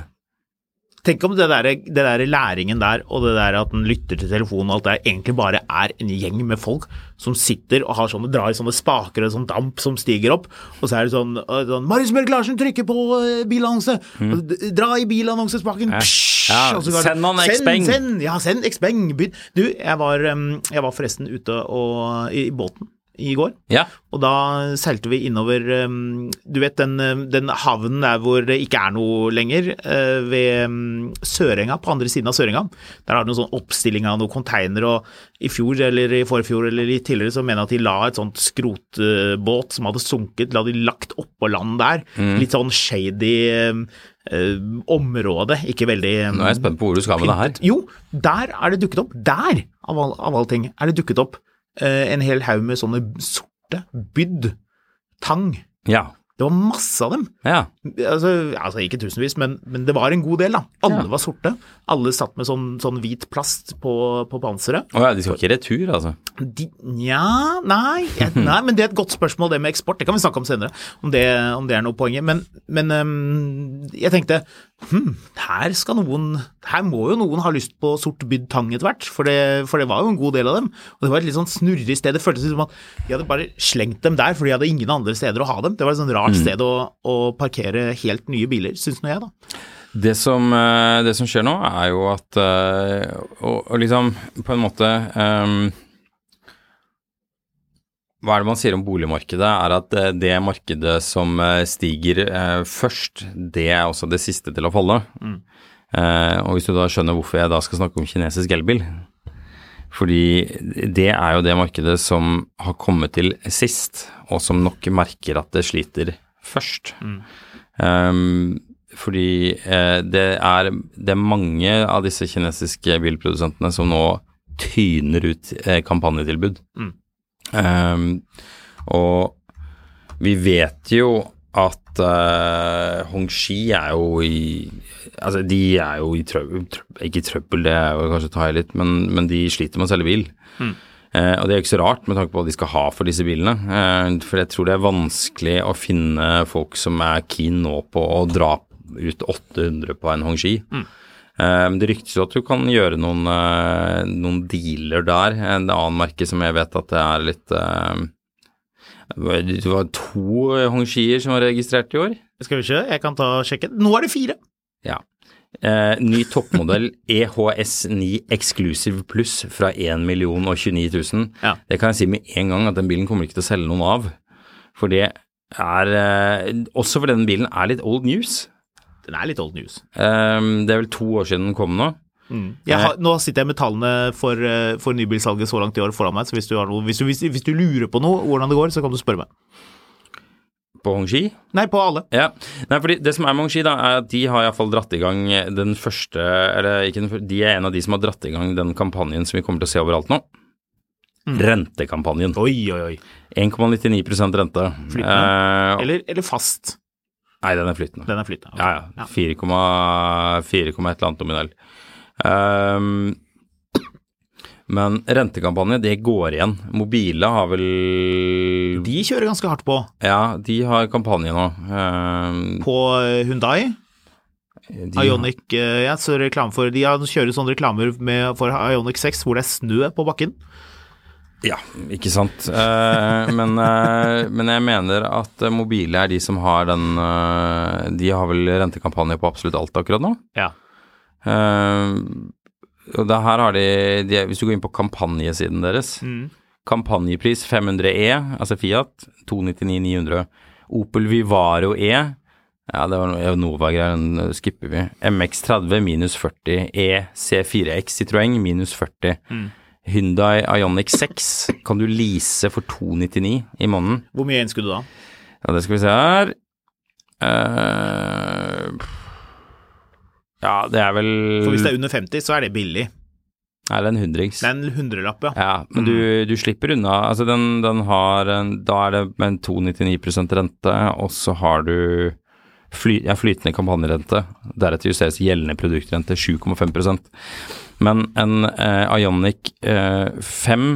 Tenk om det der, det der læringen der, og det der at den lytter til telefonen og alt det der, egentlig bare er en gjeng med folk som sitter og har sånne, drar i sånne spaker og sånn damp som stiger opp, og så er det sånn, øh, sånn Marius Mørk Larsen trykker på øh, bilannonse! Og d- Dra i bilannonsespaken! Psj!
Mm. Ja,
Og så går det,
send han Xpeng!»
Send, send, ja, send Xpeng! By- Du, jeg var, øhm, jeg var forresten ute og, i, i båten. i går.
Ja.
Og da seilte vi innover um, Du vet den, um, den havnen der hvor det ikke er noe lenger, eh, ved um, Sørenga, på andre siden av Sørenga. Der har de noen sånn oppstilling av noen container, og i fjor eller i forfjor eller litt tidligere så mener jeg at de la et sånt skrotbåt som hadde sunket, la de lagt oppå land der.
Mm.
Litt sånn shady um, eh, område, ikke veldig um,
Nå er jeg spent på hvor du skal med det her.
jo, der er det dukket opp. Der, av all, av all ting, er det dukket opp eh, en hel haug med sånne sorte bydd. Tang.
Ja.
Det var masse av dem.
ja.
Altså, altså ikke tusenvis, men, men det var en god del, da. Alle var sorte. Alle satt med sånn, sånn hvit plast på, på panseret.
Å ja, de skal ikke i retur, altså.
De, nja, nei, jeg- nei, men det er et godt spørsmål, det med eksport. Det kan vi snakke om senere, om det, om det er noe poenget. Men, men øhm, jeg tenkte hm, her skal noen Her må jo noen ha lyst på sort bydd tang etter hvert, for det, for det var jo en god del av dem. Og det var et litt sånn snurrig sted. Det føltes som at de hadde bare slengt dem der, for de hadde ingen andre steder å ha dem. Det var et sånn rart sted å, å parkere helt nye biler, syns nå jeg, da.
Det som, eh, det som skjer nå, er jo at eh, og, og liksom på en måte ehm, Hva er det man sier om boligmarkedet? Er at eh, det markedet som eh, stiger eh, først, det er også det siste til å falle. Eh, og hvis du da skjønner hvorfor jeg da skal snakke om kinesisk elbil Fordi det er jo det markedet som har kommet til sist, og som nok merker at det sliter først. Ehm, fordi eh, det, er, det er mange av disse kinesiske bilprodusentene som nå tyner ut eh, kampanjetilbud. Ehm, og vi vet jo at eh, Hongxi er jo i Altså, de er jo i trøbbel, trøbbel Ikke i trøbbel, det er jo kanskje å ta i litt, men, men de sliter med å selge bil. Eh, og det er jo ikke så rart med tanke på hva de skal ha for disse bilene. Eh, for jeg tror det er vanskelig å finne folk som er keen nå på å dra ut 800 på en Hongxi. Eh, men det ryktes jo at du kan gjøre noen, eh, noen dealer der. Eh, En annen merke som jeg vet at det er litt eh, Det var to Hongxier som var registrert i år.
Skal vi se, jeg kan ta og sjekke. Nå er det fire!
Ja. Eh, ny toppmodell E EHS9 Exclusive Pluss fra 1 million og 29 000.
Ja.
Det kan jeg si med en gang at den bilen kommer ikke til å selge noen av. For det er eh, Også fordi den bilen er litt old news.
Den er litt old news.
Eh, det er vel to år siden den kom nå.
Jeg har, nå sitter jeg med tallene for, eh, for nybilsalget så langt i år foran meg, så hvis du, har noe, hvis, du, hvis, hvis du lurer på noe, hvordan det går, så kan du spørre meg.
På Hongxi.
Nei, på alle.
Ja. Nei, fordi det som er med Hongxi, da, er at de har iallfall dratt i gang den første Eller ikke den første, de er en av de som har dratt i gang den kampanjen som vi kommer til å se overalt nå.
Mm.
Rentekampanjen.
Oi, oi, oi.
1,99 rente.
Flytende.
Eh,
Eller, eller fast.
Nei, den er flytende.
Den er flytende.
Ja, ja. 4,1 et eller annet nominell. Ehm, men rentekampanje, det går igjen. Mobile har vel
De kjører ganske hardt på.
Ja, de har kampanje nå. Ehm,
På Hundai,
de-
Ionic eh, ja, så reklame for, De har- kjører sånne reklamer med, for Ionic 6 hvor det er snø på bakken.
Ja, ikke sant. Eh, men, eh, men jeg mener at eh, mobile er de som har den eh, De har vel rentekampanje på absolutt alt akkurat nå.
Ja.
Eh, og det her har de, de Hvis du går inn på kampanjesiden deres
Mm.
Kampanjepris 500 E, altså Fiat, 299-900. Opel Vivaro E, ja det var noe Nova-greier, den skipper vi. MX30 minus 40 E, C4X Citroën minus 40.
Mm.
Hyundai Ioniq 6 kan du lease for 299 i måneden.
Hvor mye innskudd da?
Ja, det skal vi se her. Eh, ja, det er vel
For hvis det er under 50, så er det billig.
Nei, det er en hundrings.
Det er en hundrelapp, ja.
Ja, men du, du slipper unna. Altså, den, den har en Da er det med en 2,99 rente, og så har du fly, ja, flytende kampanjerente. Deretter justeres gjeldende produktrente 7,5 Men en eh, Ionic eh, 5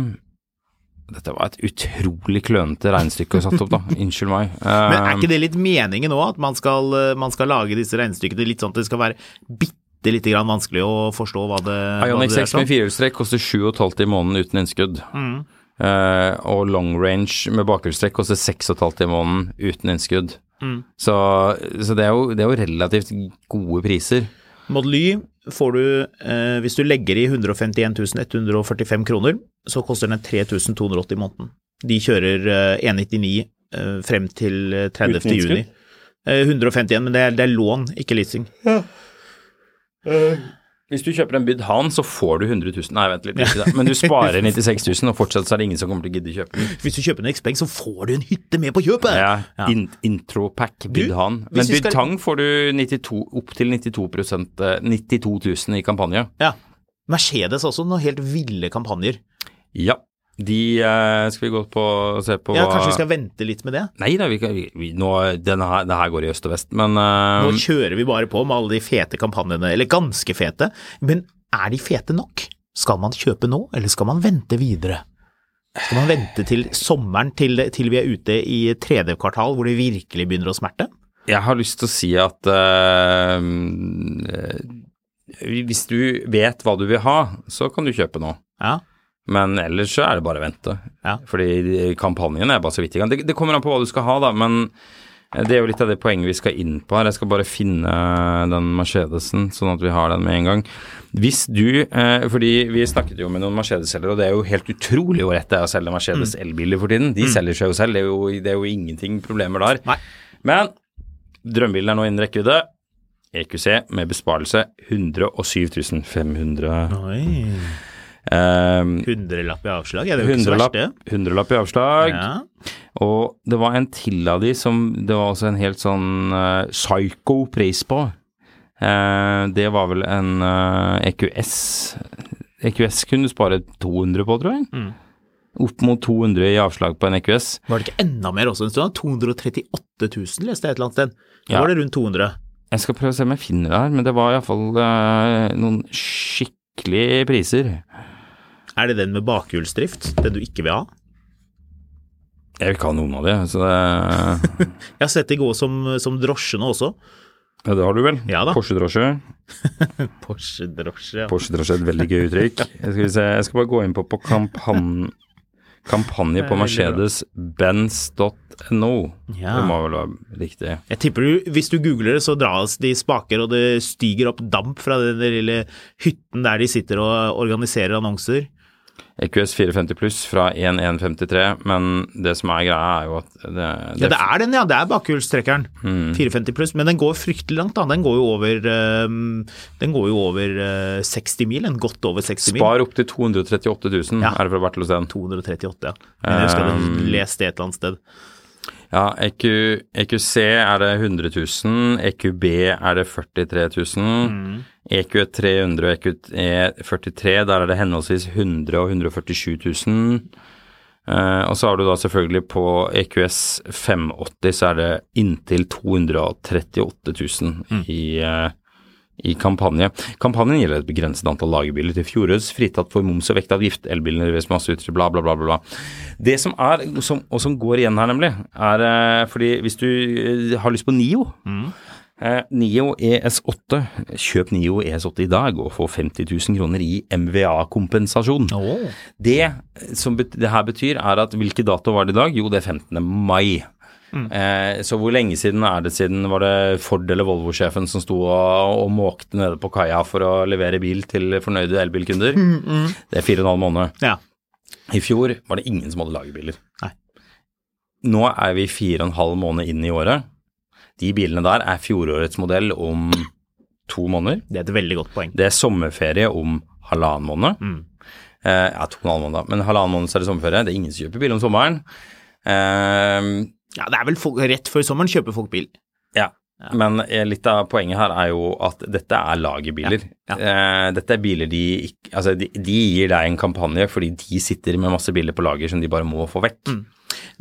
Dette var et utrolig klønete regnestykke å satt opp, da. Unnskyld meg. Eh,
Men
Um,
er ikke det litt meningen òg, at man skal, eh, man skal lage disse regnestykkene litt sånn at det skal være bitte lite grann vanskelig å forstå hva det, hva
Ionic
det
6 med firehjulstrekk koster 7,5 i måneden uten innskudd.
Mm.
Eh, og long range med bakhjulstrekk koster 6,5 i måneden uten innskudd.
Mm.
Så, så det, er jo, det er jo relativt gode priser.
Model Y får du, eh, hvis du legger i 151 145 kroner, så koster den 3280 i måneden. De kjører eh, 199 eh, frem til eh, 30.
Uten
juni.
innskudd?
Eh, 151, men det er, det er lån, ikke leasing.
Hvis du kjøper en Bydhan, så får du 100 000. Nei, vent litt. Ikke det. Men du sparer 96 000, og fortsatt så er det ingen som kommer til å gidde å kjøpe den.
Hvis du kjøper en Xpeng, så får du en hytte med på kjøpet!
Ja, in Intropack Bydhan. Men
hvis vi skal-
Bydtang får du 92, opp til 92 eh, 92 000 i kampanje.
Ja. Mercedes også, noen helt ville kampanjer.
Ja. De eh, Skal vi gå på og eh, se på
Ja,
hva
Kanskje vi skal vente litt med det?
Nei da, vi kan vi, vi, nå, denne her, Det her går i øst og vest, men eh,
Nå kjører vi bare på med alle de fete kampanjene, eller ganske fete. Men er de fete nok? Skal man kjøpe nå, eller skal man vente videre? Skal man vente til sommeren, til, til vi er ute i tredje kvartal, hvor det virkelig begynner å smerte?
Jeg har lyst til å si at eh, eh, hvis du vet hva du vil ha, så kan du kjøpe nå.
Ja.
Men ellers så er det bare å vente.
Ja.
Fordi kampanjen er bare så vidt i gang. Det, det kommer an på hva du skal ha, da, men eh, det er jo litt av det poenget vi skal inn på her. Jeg skal bare finne den Mercedesen, sånn at vi har den med en gang. Hvis du eh, Fordi vi snakket jo med noen Mercedes-selgere, og det er jo helt utrolig hvor rett det er å selge
Mm.
Mercedes elbiler for tiden. De selger seg jo selv, det er jo, det er jo ingenting problemer der.
Nei.
Men drømmebilen er nå innen rekkevidde. EQC med besparelse 107 500.
Oi.
Eh,
Hundrelapp i avslag, ja, det er jo ikke så verst,
Hundrelapp,
det.
hundrelapp i avslag.
Ja.
Og det var en til av de som det var også en helt sånn eh, psycho pris på. Eh, det var vel en eh, EQS. EQS E kunne du spare 200 på, tror jeg.
Mm.
Opp mot 200 i avslag på en E EQS.
Var det ikke enda mer også en stund? 238 000 leste jeg et eller annet sted. Nå
Ja.
var det rundt 200.
Jeg skal prøve å se om jeg finner det her, men det var iallfall uh, noen skikkelige priser.
Er det den med bakhjulsdrift, den du ikke vil ha?
Jeg vil ikke ha noen av de, så det,
Jeg har sett de gå som, som drosjene også.
ja, det har du vel?
Ja da.
Porsche-drosje.
Porsche-drosje, ja.
Porsche-drosje er et veldig gøy uttrykk. Jeg skal, vi se, jeg skal bare gå inn på, på kampan- kampanje på mercedesbenz.no.
Ja.
Det må vel være riktig.
Jeg tipper du, hvis du googler det, så dras de spaker, og det stiger opp damp fra den der lille hytten der de sitter og organiserer annonser.
EQS 450 pluss fra 1153, men det som er greia, er jo at det,
Ja, det er Mm. den, ja. Det er bakhjulstrekkeren. 450 pluss. Men den går fryktelig langt, da. Den går jo over, ehm, den går jo over eh, 60 mil. En godt over 60 mil.
Spar opptil 238 000,
Ja.
er det fra Bertil Osten.
238, ja. Men jeg husker jeg hadde lest det et eller annet sted.
Ja, E EQ, EQC er det 100 000, EQB er det E 43 000, EQ 300 og EQ 43, der er det henholdsvis 100 og 147 000. Eh, og så har du da selvfølgelig på E EQS 580 så er det inntil 238 000 i, eh, i kampanje. Kampanjen gjelder et begrenset antall lagerbiler til Fjordøs, fritatt for moms og vektavgift, elbilene leveres med masse utstyr, bla, bla, bla, bla. bla. Det som er, som, og som går igjen her nemlig, er eh, fordi hvis du eh, har lyst på Nio, eh, Nio ES8, kjøp Nio ES8 i dag og få 50 000 kroner i MVA-kompensasjon. Det eh, som bet- det her betyr er at hvilken dato var det i dag? Jo, det er 15. mai. Eh, så hvor lenge siden er det siden var det Ford eller Volvo-sjefen som sto og, og måkte nede på kaia for å levere bil til fornøyde elbilkunder? Det er fire og en halv måned.
Ja.
I fjor var det ingen som hadde lagerbiler.
Nei.
Nå er vi fire og en halv måned inn i året. De bilene der er fjorårets modell om to måneder.
Det er et veldig godt poeng.
Det er sommerferie om halvannen måned.
Mm.
Eh, ja, to og en halv måned, da. Men halvannen måned så er det sommerferie. Det er ingen som kjøper bil om sommeren. Eh,
Ja, det er vel folk, rett før sommeren kjøper folk bil.
ja. Men eh, litt av poenget her er jo at dette er lagerbiler.
Ja,
Eh, dette er biler de ikke Altså, de, de gir deg en kampanje fordi de sitter med masse biler på lager som de bare må få vekk.
Mm.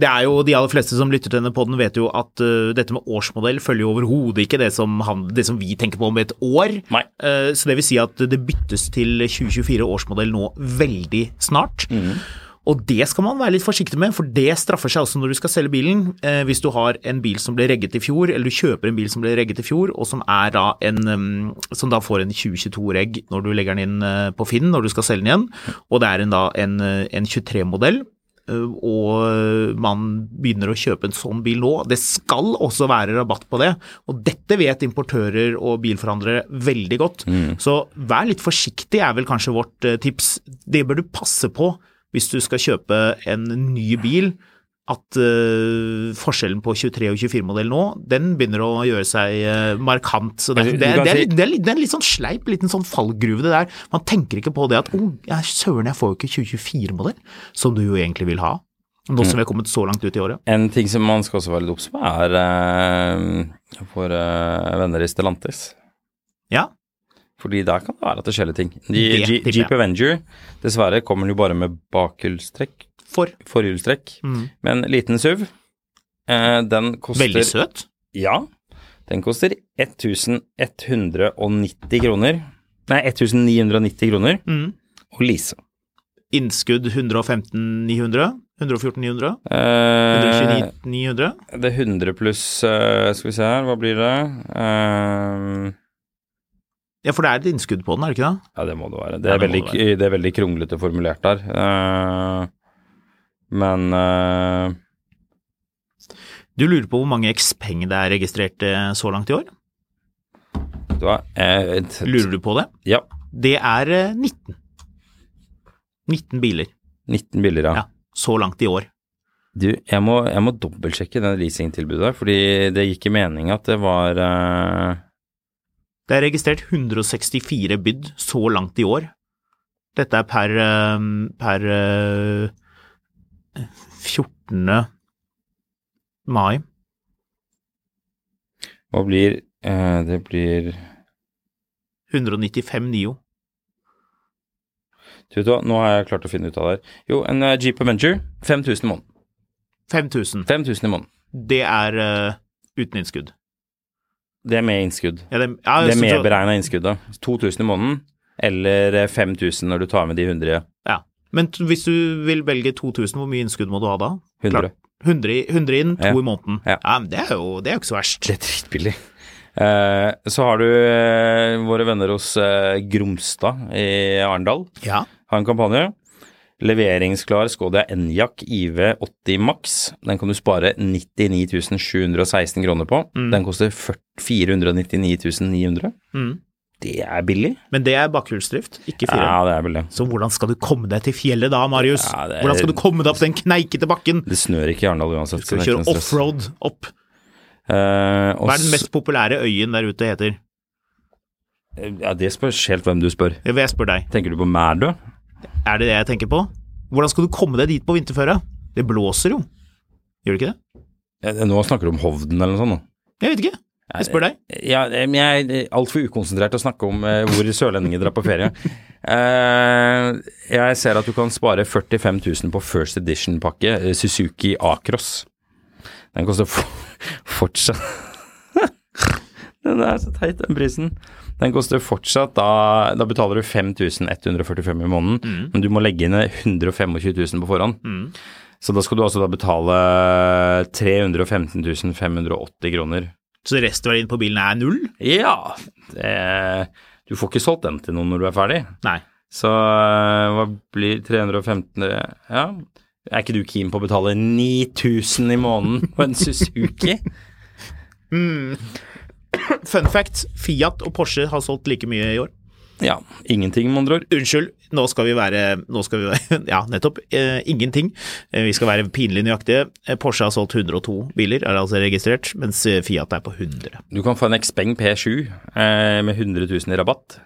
Det er jo De aller fleste som lytter til denne podden vet jo at øh, dette med årsmodell følger jo overhodet ikke det som, han, det som vi tenker på om et år.
Nei.
Eh, så det vil si at det byttes til 2024 årsmodell nå veldig snart. Og det skal man være litt forsiktig med, for det straffer seg også når du skal selge bilen. Eh, hvis du har en bil som ble regget i fjor, eller du kjøper en bil som ble regget i fjor, og som, er da en, um, som da får en 2022-regg når du legger den inn eh, på Finn når du skal selge den igjen, og det er en, da en, eh, en 23-modell. eh, Og man begynner å kjøpe en sånn bil nå. Det skal også være rabatt på det. Og dette vet importører og bilforhandlere veldig
Mm.
godt. Så vær litt forsiktig, er vel kanskje vårt eh, tips. Det bør du passe på hvis du skal kjøpe en ny bil, at eh, forskjellen på 23- og 24-modell nå, den begynner å gjøre seg eh, markant. Så det,
Altså, Du- du
det, det,
kan
er-
si-
det, er litt- det er en litt sånn sleip, liten sånn fallgruve det der. Man tenker ikke på det at oh, ja, søren, jeg får jo ikke 2024-modell, som du jo egentlig vil ha. Nå som vi er kommet så langt ut i året.
En ting som man skal også være litt obs på, er eh, for eh, venner i Stellantis.
Ja,
Fordi der kan det være at det skjer litt ting. De,
Det
Jeep-
tipper jeg.
Jeep Avenger, dessverre kommer den jo bare med bakhjulstrekk,
for.
forhjulstrekk,
Mm.
men liten SUV. Eh, den koster
Veldig søt.
Ja. Den koster 1190 kroner. Nei, 1990 kroner
Mm.
å lease.
Innskudd 115-900. 114-900.
Eh,
129-900.
det er 100 pluss eh, Skal vi se her, hva blir det? Eh,
Ja, for det er et innskudd på den, er det ikke det?
ja, det må det være. Det
Ja,
er,
det må
veldig,
det
det er veldig kronglete formulert der. Eh, men eh,
Du lurer på hvor mange Xpeng det er registrert eh, så langt i år?
Det var eh, et-
Lurer du på det?
Ja.
Det er eh, 19. 19 biler
19 biler, ja.
ja, så langt i år.
Du, jeg må, jeg må dobbeltsjekke det leasingtilbudet der, fordi det gikk i mening at det var eh,
Det er registrert 164 bydd så langt i år. Dette er per, eh, per eh, 14. mai.
Hva blir eh, Det blir
195 NIO.
Du vet hva, nå har jeg klart å finne ut av det her. Jo, en eh, Jeep Avenger. 5000 i måneden.
5000.
5000 i måneden.
Det er eh, uten innskudd.
Det er med innskudd.
Ja, det, ja,
Det er
så- så-
medberegna innskudd, da. 2000 i måneden, eller eh, 5000 når du tar med de 100.
Ja. Men t- hvis du vil velge 2000, hvor mye innskudd må du ha da?
100.
Klart. 100, i- 100 inn, to
Ja.
i måneden.
Ja.
Ja. men det er jo det er jo ikke så verst.
Det er dritbillig. Eh, så har du eh, våre venner hos eh, Gromstad i Arendal.
Ja.
har en kampanje. Leveringsklar Skoda Enjak IV80 Max. Den kan du spare 99 716 kroner på.
Mm.
Den koster 40 499 900. Det er billig.
Men det er bakhjulsdrift, ikke Mm. fire.
Ja, det er vel det.
Så hvordan skal du komme deg til fjellet da, Marius?
Ja, det er-
Hvordan skal du komme deg opp den kneikete bakken?
Det snør ikke i Arendal uansett.
Skal du
så det er
kjøre
ikke noe stress.
offroad opp?
Eh, og
Hva er den
s-
mest populære øyen der ute heter?
Ja, det spørs helt hvem du spør.
Jeg vil spørre deg,
Tenker du på Mærdø?
er det det jeg tenker på? Hvordan skal du komme deg dit på vinterføre? Det blåser jo. Gjør det ikke det?
Eh, Nå snakker du om Hovden eller noe sånt. nå.
Jeg vet ikke. Jeg spør deg.
Ja, eh, men jeg er altfor ukonsentrert til å snakke om eh, hvor sørlendinger drar på ferie. Eh, jeg ser at du kan spare 45 000 på First Edition-pakke eh, Suzuki Across. Den koster for, fortsatt Den er så teit, den prisen. Den koster fortsatt da Da betaler du 5145 i måneden, men du må legge inn eh, 125 000 på forhånd. Så da skal du altså da betale 315 580 kroner.
Så restverdien på bilen er null?
Ja, det, du får ikke solgt den til noen når du er ferdig.
Nei.
Så eh, hva blir 315 Ja, er ikke du keen på å betale 9000 i måneden på en Suzuki?
Fun fact, Fiat og Porsche har solgt like mye i år.
Ja, ingenting, med andre ord.
Unnskyld, nå skal vi være, nå skal vi være Ja, nettopp. Eh, ingenting. Eh, vi skal være pinlig nøyaktige. Eh, Porsche har solgt 102 biler, er altså registrert, mens eh, Fiat er på 100.
Du kan få en Xpeng P7 eh, med 100 000 i rabatt.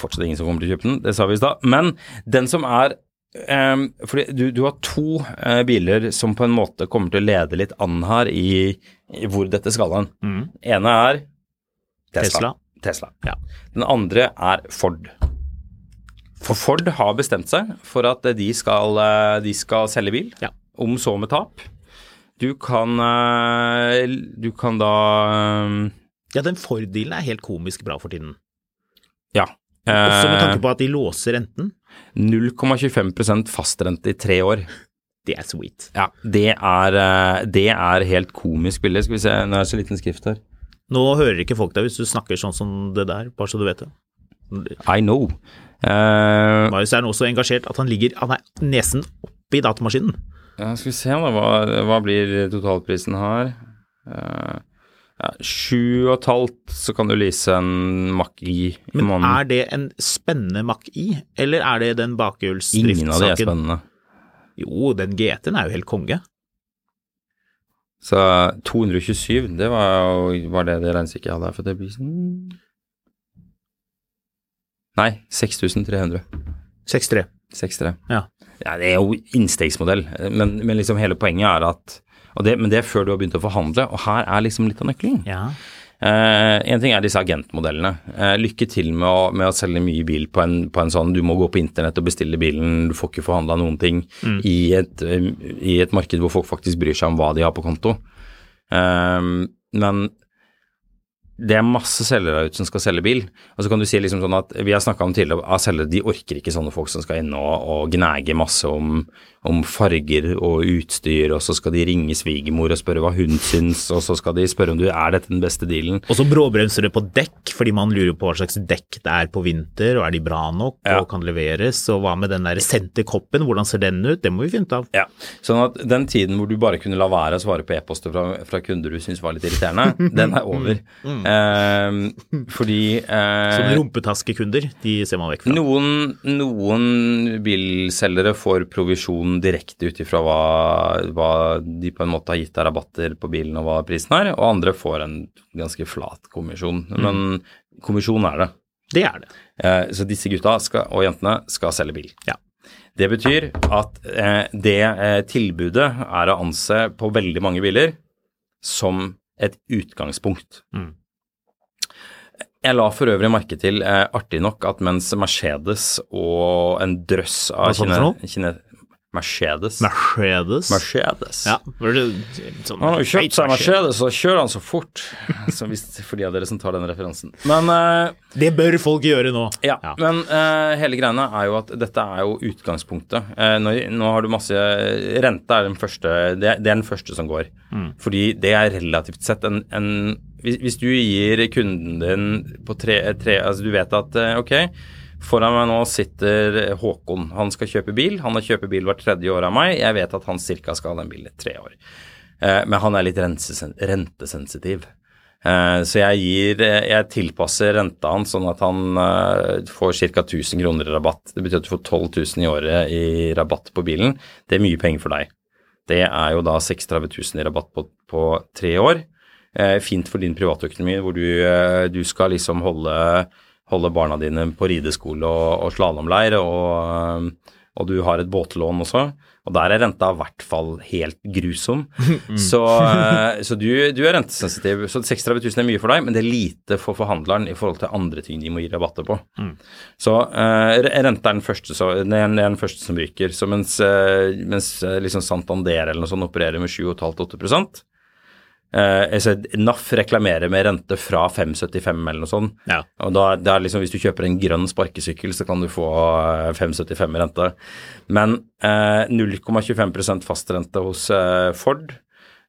Fortsatt ingen som kommer til å kjøpe den, det sa vi i stad. Men den som er eh, Fordi du, du har to eh, biler som på en måte kommer til å lede litt an her i, i hvor dette skal hen. ene er Tesla.
Tesla.
Tesla.
Ja.
Den andre er Ford. For Ford har bestemt seg for at de skal, eh, de skal selge bil,
Ja.
om så med tap. Du kan, eh, du kan da eh,
Ja, den Ford-dealen er helt komisk bra for tiden.
Ja.
Også med
Eh,
tanke på at de låser renten.
0,25 fastrente i tre år.
Det er sweet.
Ja, det er, eh, det er helt komisk billig. Skal vi se, nå er det så liten skrift her.
Nå hører ikke folk deg hvis du snakker sånn som det der, bare så du vet det.
I know. Eh,
Marius er nå så engasjert at han ligger Han er nesen oppi datamaskinen.
ja, skal vi se da, hva, hva blir totalprisen her? Eh, ja, sju og et halvt, så kan du lease en Mack i i
Men
måneden.
er det en spennende Mac i, eller er det den
Ingen av de er
bakhjulsdriftsaken?
spennende.
Jo, den GT-en er jo helt konge.
Så eh, 227, det var, jo- var det det regnestykket jeg hadde her for det blir sånn Nei, 6300.
6-3.
63.
Ja.
Ja, det er jo innstegsmodell, men, men liksom hele poenget er at og det, Men det er før du har begynt å forhandle, og her er liksom litt av nøkkelen.
Ja.
Eh, en ting er disse agentmodellene. Eh, lykke til med å, med å selge mye bil på en, på en sånn du må gå på internett og bestille bilen, du får ikke forhandla noen ting i, et, eh, i et marked hvor folk faktisk bryr seg om hva de har på konto. Eh, men det er masse selgere der ute som skal selge bil. Og så kan du si liksom sånn at vi har snakka om tidligere at selgere de orker ikke sånne folk som skal inn og, og gnage masse om, om farger og utstyr, og så skal de ringe svigermor og spørre hva hun syns, og så skal de spørre om du er dette den beste dealen.
Og så bråbremser det på dekk, fordi man lurer på hva slags dekk det er på vinter, og er de bra nok, og kan leveres, og hva med den der senterkoppen, hvordan ser den ut, det må vi finne ut av.
Ja, sånn at den tiden hvor du bare kunne la være å svare på e-poster fra, fra kunder du syntes var litt irriterende, den er over. Eh, fordi eh,
Som rumpetaskekunder, de ser man vekk fra.
Noen, noen bilselgere får provisjon direkte ut ifra hva, hva de på en måte har gitt av rabatter på bilen og hva prisen er, og andre får en ganske flat kommisjon. Men kommisjon er det.
Det er det.
Eh, Så disse gutta skal, og jentene skal selge bil.
Ja.
Det betyr at eh, det eh, tilbudet er å anse på veldig mange biler som et utgangspunkt.
Mm.
Jeg la for øvrig merke til, eh, artig nok, at mens Mercedes og en drøss av
Hva sa du for noe?
kine, Mercedes
Mercedes.
Mercedes.
Ja. var det Sånn,
Han har jo kjøpt
Mercedes.
seg Mercedes, og kjører han så fort. Så hvis, for de av dere som tar den referansen. Men eh,
Det bør folk gjøre nå.
Ja, men eh, hele greiene er jo at dette er jo utgangspunktet. Eh, nå, nå har du masse Rente er den første, det, er- det er den første som går. Fordi det er relativt sett en, en hvis, hvis du gir kunden din på tre, tre Altså du vet at eh, ok, foran meg nå sitter Håkon. Han skal kjøpe bil. Han har kjøpt bil hvert tredje år av meg. Jeg vet at han cirka skal ha den bilen i tre år. Eh, men han er litt rentesen- rentesensitiv. Eh, Så jeg gir eh, Jeg tilpasser renta hans sånn at han eh, får ca. 1000 kroner i rabatt. Det betyr at du får 12 000 i året i rabatt på bilen. Det er mye penger for deg. Det er jo da 36 000 i rabatt på, på tre år. Eh, Fint for din privatøkonomi, hvor du, eh, du skal liksom holde, holde barna dine på rideskole og, og slalåmleir, og, eh, og du har et båtlån også. Og der er renta i hvert fall helt grusom. Så, eh, så du, du er rentesensitiv. Så 36 000 er mye for deg, men det er lite for forhandleren i forhold til andre ting de må gi rabatter på. Så eh, re- renta er den første, så, den, er den første som ryker. Så mens, eh, mens eh, liksom Santander eller noe sånt opererer med 7,5-8 Eh, altså, NAF reklamerer med rente fra 5,75 eller noe sånt.
Ja.
Og da, det er liksom, hvis du kjøper en grønn sparkesykkel, så kan du få eh, 5,75 i rente. Men eh, 0,25 fastrente hos eh, Ford,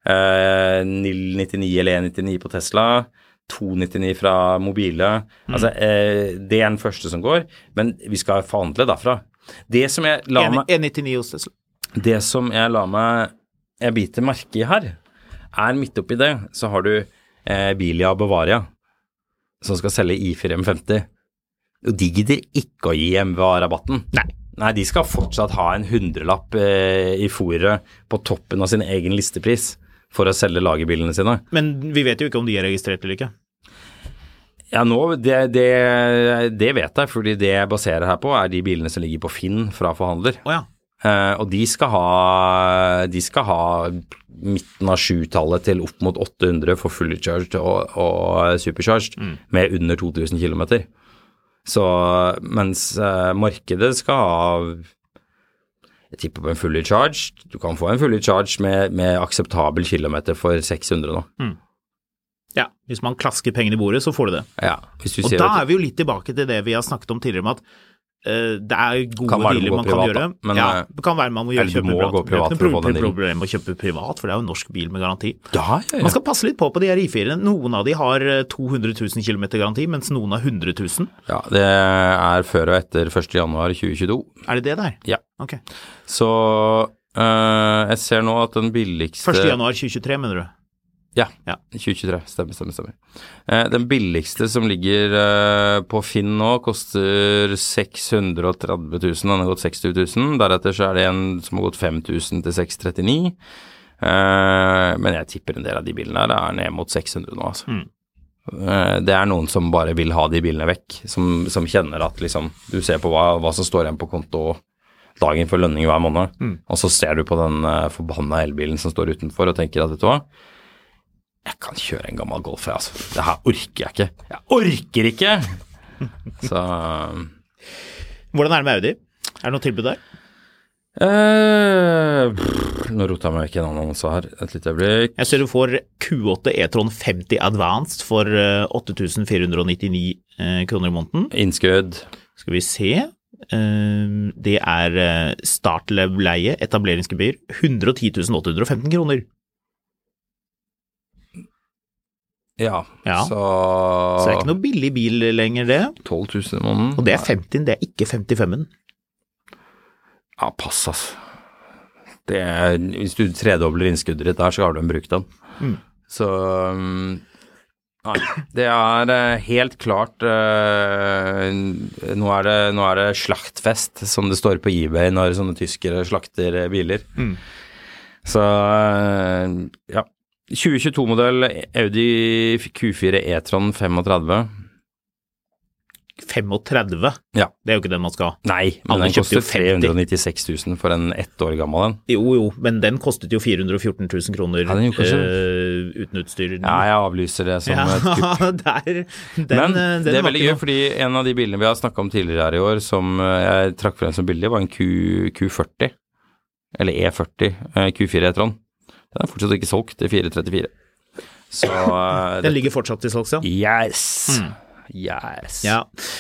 eh, 0,99 eller 1,99 på Tesla, 2,99 fra mobile. Altså, eh, det er den første som går, men vi skal forhandle derfra. Det som jeg la meg
1,99 hos Tesla.
det som jeg la meg Jeg biter merke i her, er midt oppi det, så har du eh, Bilia Bavaria, som skal selge i4 M50. Og de gidder ikke å gi MVA-rabatten.
Nei.
Nei, de skal fortsatt ha en hundrelapp eh, i fòret på toppen av sin egen listepris for å selge lagerbilene sine.
Men vi vet jo ikke om de er registrert eller ikke.
Ja, nå, det, det, det vet jeg, fordi det jeg baserer her på, er de bilene som ligger på Finn fra forhandler.
Å ja.
Eh, og de skal ha, de skal ha midten av 7-tallet til opp mot 800 for fully charged og, og supercharged med under 2000 km. Så mens eh, markedet skal ha Jeg tipper på en fully charged. Du kan få en fully charged med, med akseptabel kilometer for 600 nå.
ja. Hvis man klasker pengene i bordet, så får du det.
Ja, hvis du
Og
sier
da
at-
er vi jo litt tilbake til det vi har snakket om tidligere, med at eh, det er gode
Kan være du
dealer
går
man
privat,
kan gjøre.
da, men,
ja,
eh,
det kan være man må gjøre,
eller du
kjøpe
må
privat.
gå
Det er ikke
privat
noe
for å få den dealen.
problem å kjøpe privat, for det er jo en norsk bil med garanti.
Ja, ja, ja.
Man skal passe litt på på de her I4-ene. Noen av de har eh, 200 000 km garanti, mens noen har 100 000.
ja, det er før og etter 1.1.2022.
Er det det der?
Ja.
Ok.
Så eh, jeg ser nå at den billigste
1. januar 2023, mener du?
Ja,
Ja.
2023. Stemmer, stemmer, stemmer. Eh, den billigste som ligger eh, på Finn nå, koster 630 000. Den har gått 60 000. Deretter så er det en som har gått 5000 til 639. Eh, men jeg tipper en del av de bilene her er ned mot 600 nå, altså. Eh, Det er noen som bare vil ha de bilene vekk, som, som kjenner at liksom Du ser på hva, hva som står igjen på konto dagen for lønning hver måned, og så ser du på den eh, forbanna elbilen som står utenfor og tenker at vet du hva, jeg kan kjøre en gammel Golf, jeg, altså. Det her orker jeg ikke. Jeg orker ikke! Så
Hvordan er det med Audi? Er det noe tilbud der?
eh, pff, Nå rota jeg meg vekk i en annonse her, et lite øyeblikk.
Jeg ser du får Q8 E-tron 50 Advanced for eh, 8499 eh, kroner i måneden.
Innskudd.
Skal vi se. Eh, Det er eh, startlevleie, etableringsgebyr, 110 815 kroner.
Ja,
Ja.
så
Så
Ah.
det er ikke noe billig bil lenger, det.
12 000 i måneden.
Og det er 50-en, det er ikke 55-en.
Ja, pass, altså. Det er, hvis du tredobler innskuddet ditt der, så har du en brukt den. Så um, Nei. Det er eh, helt klart eh, nå, er det, nå er det slaktfest, som det står på eBay når sånne tyskere slakter eh, biler. Så eh, ja. 2022-modell Audi Q4 E-tron 35.
35,
Ja.
det er jo ikke den man skal ha.
Nei, men
Alle
den
kjøpte jo
koster 396 000 for en ett år gammel en.
Jo jo, men den kostet jo 414 000 kroner
Ja, den gjorde kanskje
eh, uten utstyr.
Ja, jeg avlyser det som
Ja,
et kupp.
der, den, eh,
Men
den
det er
var
veldig
ikke
gøy,
noe-
fordi en av de bilene vi har snakka om tidligere her i år, som eh, jeg trakk frem som billig, var en Q, Q40. Eller E40. eh, Q4 E-tron. Den er fortsatt ikke solgt til 434. Så eh,
Den ligger fortsatt til salgs, ja.
det- Yes! Yes.
Mm. Ja.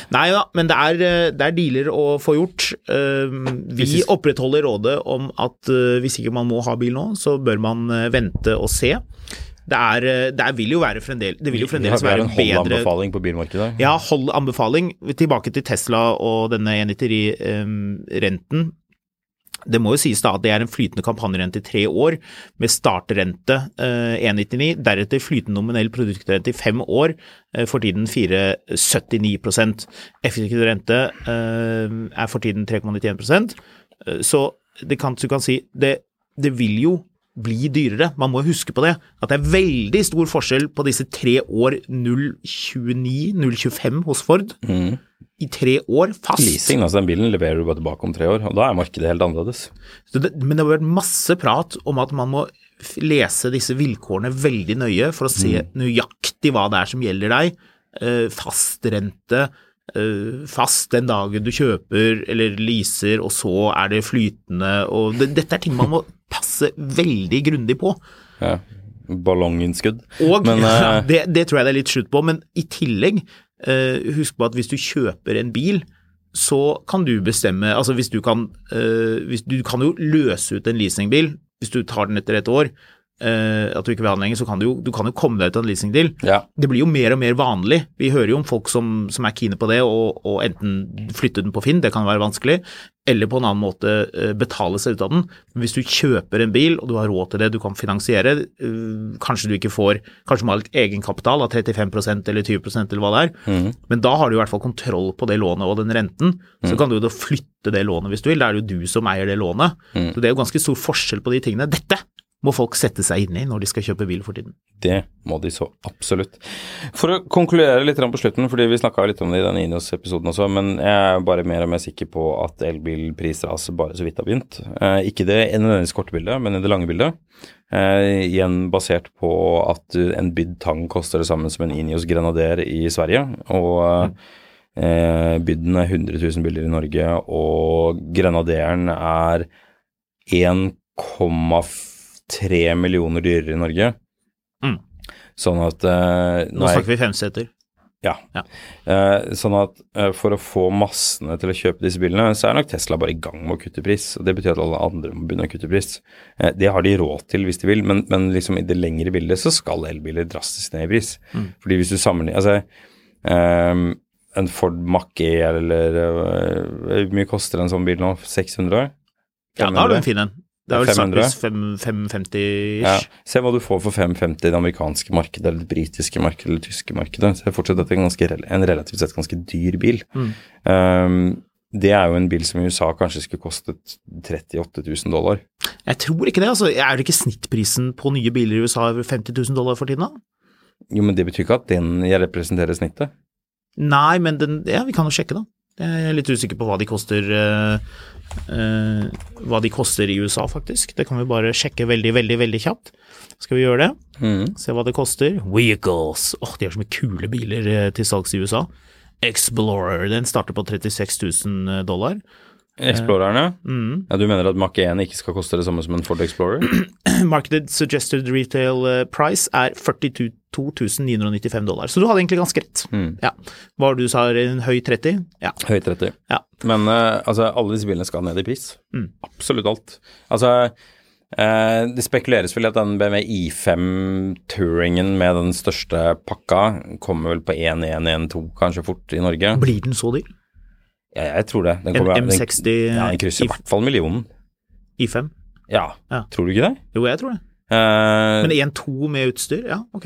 Nei da, men det er, eh, det er dealer å få gjort. Eh, Vi
Hvis-
opprettholder rådet om at eh, hvis ikke man må ha bil nå, så bør man eh, vente og se. Det, er, eh, det er, vil jo være fremdeles, det vil jo
Vi har
fremdeles
vi har
være
en
bedre
holdanbefaling på bilmarkedet.
Ja, hold anbefaling. Tilbake til Tesla og denne eh, 193-renten. Det må jo sies da at det er en flytende kampanjerente i tre år, med startrente eh, 1,99, deretter flytende nominell produktrente i fem år, eh, for tiden 4,79 Effektiv rente eh, er for tiden 3,91 eh, Så det kan, du kan si det, det vil jo bli dyrere. Man må jo huske på det, at det er veldig stor forskjell på disse tre år 0,29-0,25 hos Ford. I tre år fast.
Leasing, altså den bilen leverer du bare tilbake om tre år, og da er markedet helt annerledes.
Så det, men det har vært masse prat om at man må f- lese disse vilkårene veldig nøye for å se nøyaktig hva det er som gjelder deg. Eh, Fastrente, eh, fast den dagen du kjøper eller leaser, og så er det flytende og det, Dette er ting man må passe veldig grundig på.
Ja. Ballonginnskudd.
Og
Men, eh,
det, det tror jeg det er litt slutt på, men i tillegg, eh, husk på at hvis du kjøper en bil, så kan du bestemme Altså hvis du kan eh, hvis, Du kan jo løse ut en leasingbil hvis du tar den etter et år. eh, at du ikke vil ha den lenger, så kan du, jo, du kan jo komme deg ut av en leasingdeal.
Ja.
Det blir jo mer og mer vanlig. Vi hører jo om folk som, som er kine på det, og, og enten flytte den på Finn, det kan være vanskelig, eller på en annen måte eh, betale seg ut av den. Men hvis du kjøper en bil, og du har råd til det, du kan finansiere, eh, kanskje du ikke får Kanskje du må ha litt egenkapital av 35 eller 20 eller hva det er, men da har du i hvert fall kontroll på det lånet og den renten. Så kan du jo da flytte det lånet hvis du vil, da er det jo du som eier det lånet. Så det er jo ganske stor forskjell på de tingene. Dette må folk sette seg inn i når de skal kjøpe bil for tiden.
Det må de så absolutt. For å konkludere litt grann på slutten, fordi vi snakka litt om det i den Inos-episoden også, men jeg er bare mer og mer sikker på at elbilprisraset bare så vidt har begynt. Eh, ikke det i nødvendigvis korte bildet, men i det lange bildet. Eh, igjen basert på at eh, en bydd tang koster det samme som en Inios Grenader i Sverige. Og eh, bydden er 100 000 biler i Norge, og Grenaderen er 1,3 millioner dyrere i Norge.
Mm.
Sånn at eh,
Nå snakker vi femseter.
Ja.
Ja.
Eh, sånn at eh, for å få massene til å kjøpe disse bilene, så er nok Tesla bare i gang med å kutte pris. og Det betyr at alle andre må begynne å kutte pris. Eh, det har de råd til hvis de vil, men, men liksom i det lengre bildet så skal elbiler drastisk ned i pris.
Mm.
Fordi hvis du sammenligner Altså, eh, en Ford Mach-E eller eh, Hvor mye koster en sånn bil nå? 600?
Ja, da har du en fin en. Det er vel
500.
Sappis 550-ish.
Ja. Se hva du får for 5,50 i det amerikanske markedet, eller det britiske markedet, eller det tyske markedet. Så det er fortsatt dette er ganske, rel- en relativt sett ganske dyr bil. Ehm, det er jo en bil som i USA kanskje skulle kostet 38 000 dollar.
Jeg tror ikke det, altså. Er det ikke snittprisen på nye biler i USA over 50 000 dollar for tiden, da?
Jo, men det betyr ikke at den representerer snittet.
Nei, men den Ja, vi kan jo sjekke, da. Jeg er litt usikker på hva de koster eh, eh, Hva de koster i USA, faktisk. Det kan vi bare sjekke veldig, veldig veldig kjapt. Skal vi gjøre det?
Mm.
Se hva det koster. Vehicles. Åh, de har så mye kule biler eh, til salgs i USA. Explorer. Den starter på 36 000 dollar.
Explorerne? Ja, du mener at Mach 1 ikke skal koste det samme som en Ford Explorer?
Marketed suggested retail eh, price er 42 995 dollar. Så du hadde egentlig ganske rett.
Mm.
Ja. Hva var det du sa, en høy 30? Ja.
Høyt 30.
ja.
Men eh, altså, alle disse bilene skal ned i pris.
Mm.
Absolutt alt. Altså, eh, det spekuleres vel i at den BMW I5 Touringen med den største pakka kommer vel på 1112 kanskje fort i Norge.
Blir den så dyr?
Ja, jeg tror det. Den
En
kommer-
M60
Den, ja, den krysser i
i-
hvert fall millionen.
I5?
Ja.
Ja.
tror du ikke det?
Jo, jeg tror det.
Eh,
Men 1-2 med utstyr? Ja, ok.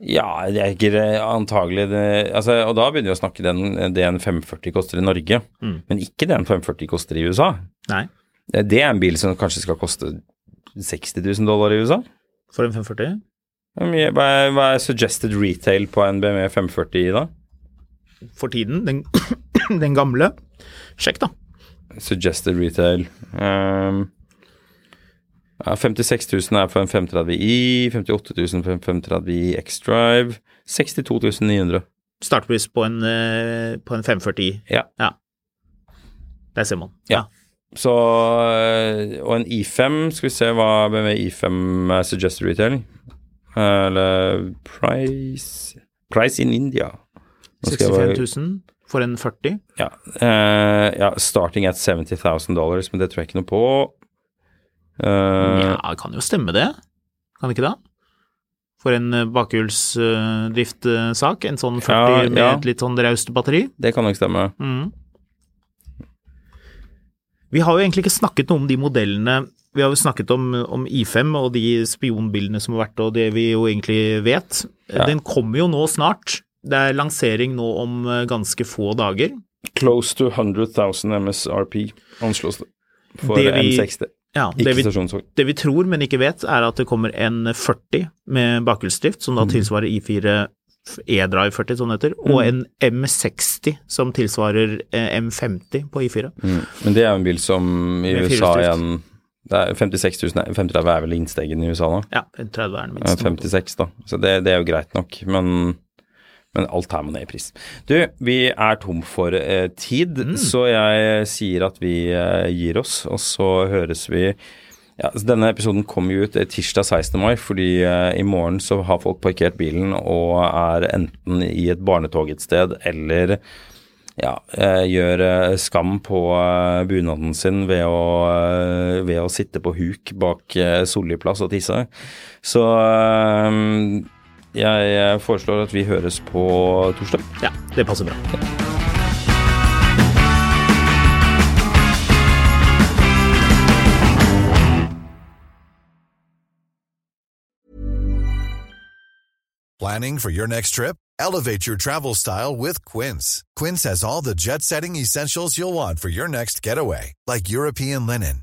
Ja, det er ikke det- antagelig det altså, Og da begynner vi å snakke den, det en 540 koster i Norge,
Mm.
men ikke det en 540 koster i USA.
Nei.
Eh, Det det er en bil som kanskje skal koste 60 000 dollar i USA.
For en 540?
Hvor mye- Hva er, hva er suggested retail på en BMW 540 i dag?
For tiden, den, den gamle. Sjekk, da.
Suggested retail ehm, ja, 56 000 er for en 530i, 58 000 for en 530i X-Drive, 62 900.
Startpris på en, eh, på en 540.
Ja.
Ja. Der ser man.
Ja. Så øh, Og en I5 Skal vi se hva BMW I5 er suggested retail. Eh, Eller price Price in India. Nå skal jeg bare-
65 000 for en 40.
ja, eh, ja. Starting at 70 000 dollars, men det tror jeg ikke noe på. Eh,
Ja, kan jo stemme det. Kan det ikke det? For en eh, bakhjulsdriftsak. En sånn 40
Ja,
med
ja.
et litt sånn raust batteri.
det kan nok stemme.
Mm. Vi har jo egentlig ikke snakket noe om de modellene Vi har jo snakket om, om I5 og de spionbildene som har vært, og det vi jo egentlig vet.
Ja.
Den kommer jo nå snart. Det er lansering nå om eh, ganske få dager.
Close to 100 000 MSRP anslås det for
Det vi-
M60.
Ja,
Ikke
det, vi,
stasjonsvogn.
det vi tror, men ikke vet, er at det kommer en 40 med bakhjulsdrift, som da tilsvarer I4 E-Drive 40, som det heter, og en M60 som tilsvarer eh, M50 på I4.
Men det er jo en bil som i
Med
USA
firehjulsdrift.
igjen det er 56 000 er- 35 er vel innstegen i USA nå?
Ja, en 30 er den
Ja,
minste.
56, Eh, da. Så det, det er jo greit nok, men, men alt her må ned i pris. Du, vi er tom for eh, tid, så jeg sier at vi eh, gir oss, og så høres vi ja, så Denne episoden kommer jo ut eh, tirsdag 16. mai, fordi eh, i morgen så har folk parkert bilen og er enten i et barnetog et sted eller ja, eh, gjør eh, skam på eh, bunaden sin ved å, eh, ved å sitte på huk bak eh, Solli plass og tisse. Så eh, jeg jeg foreslår at vi høres på torsdag.
Ja, det passer bra.
Planning for your next trip? Elevate your travel style with Quince. Quince has all the jet setting essentials you'll want for your next getaway, like European linen,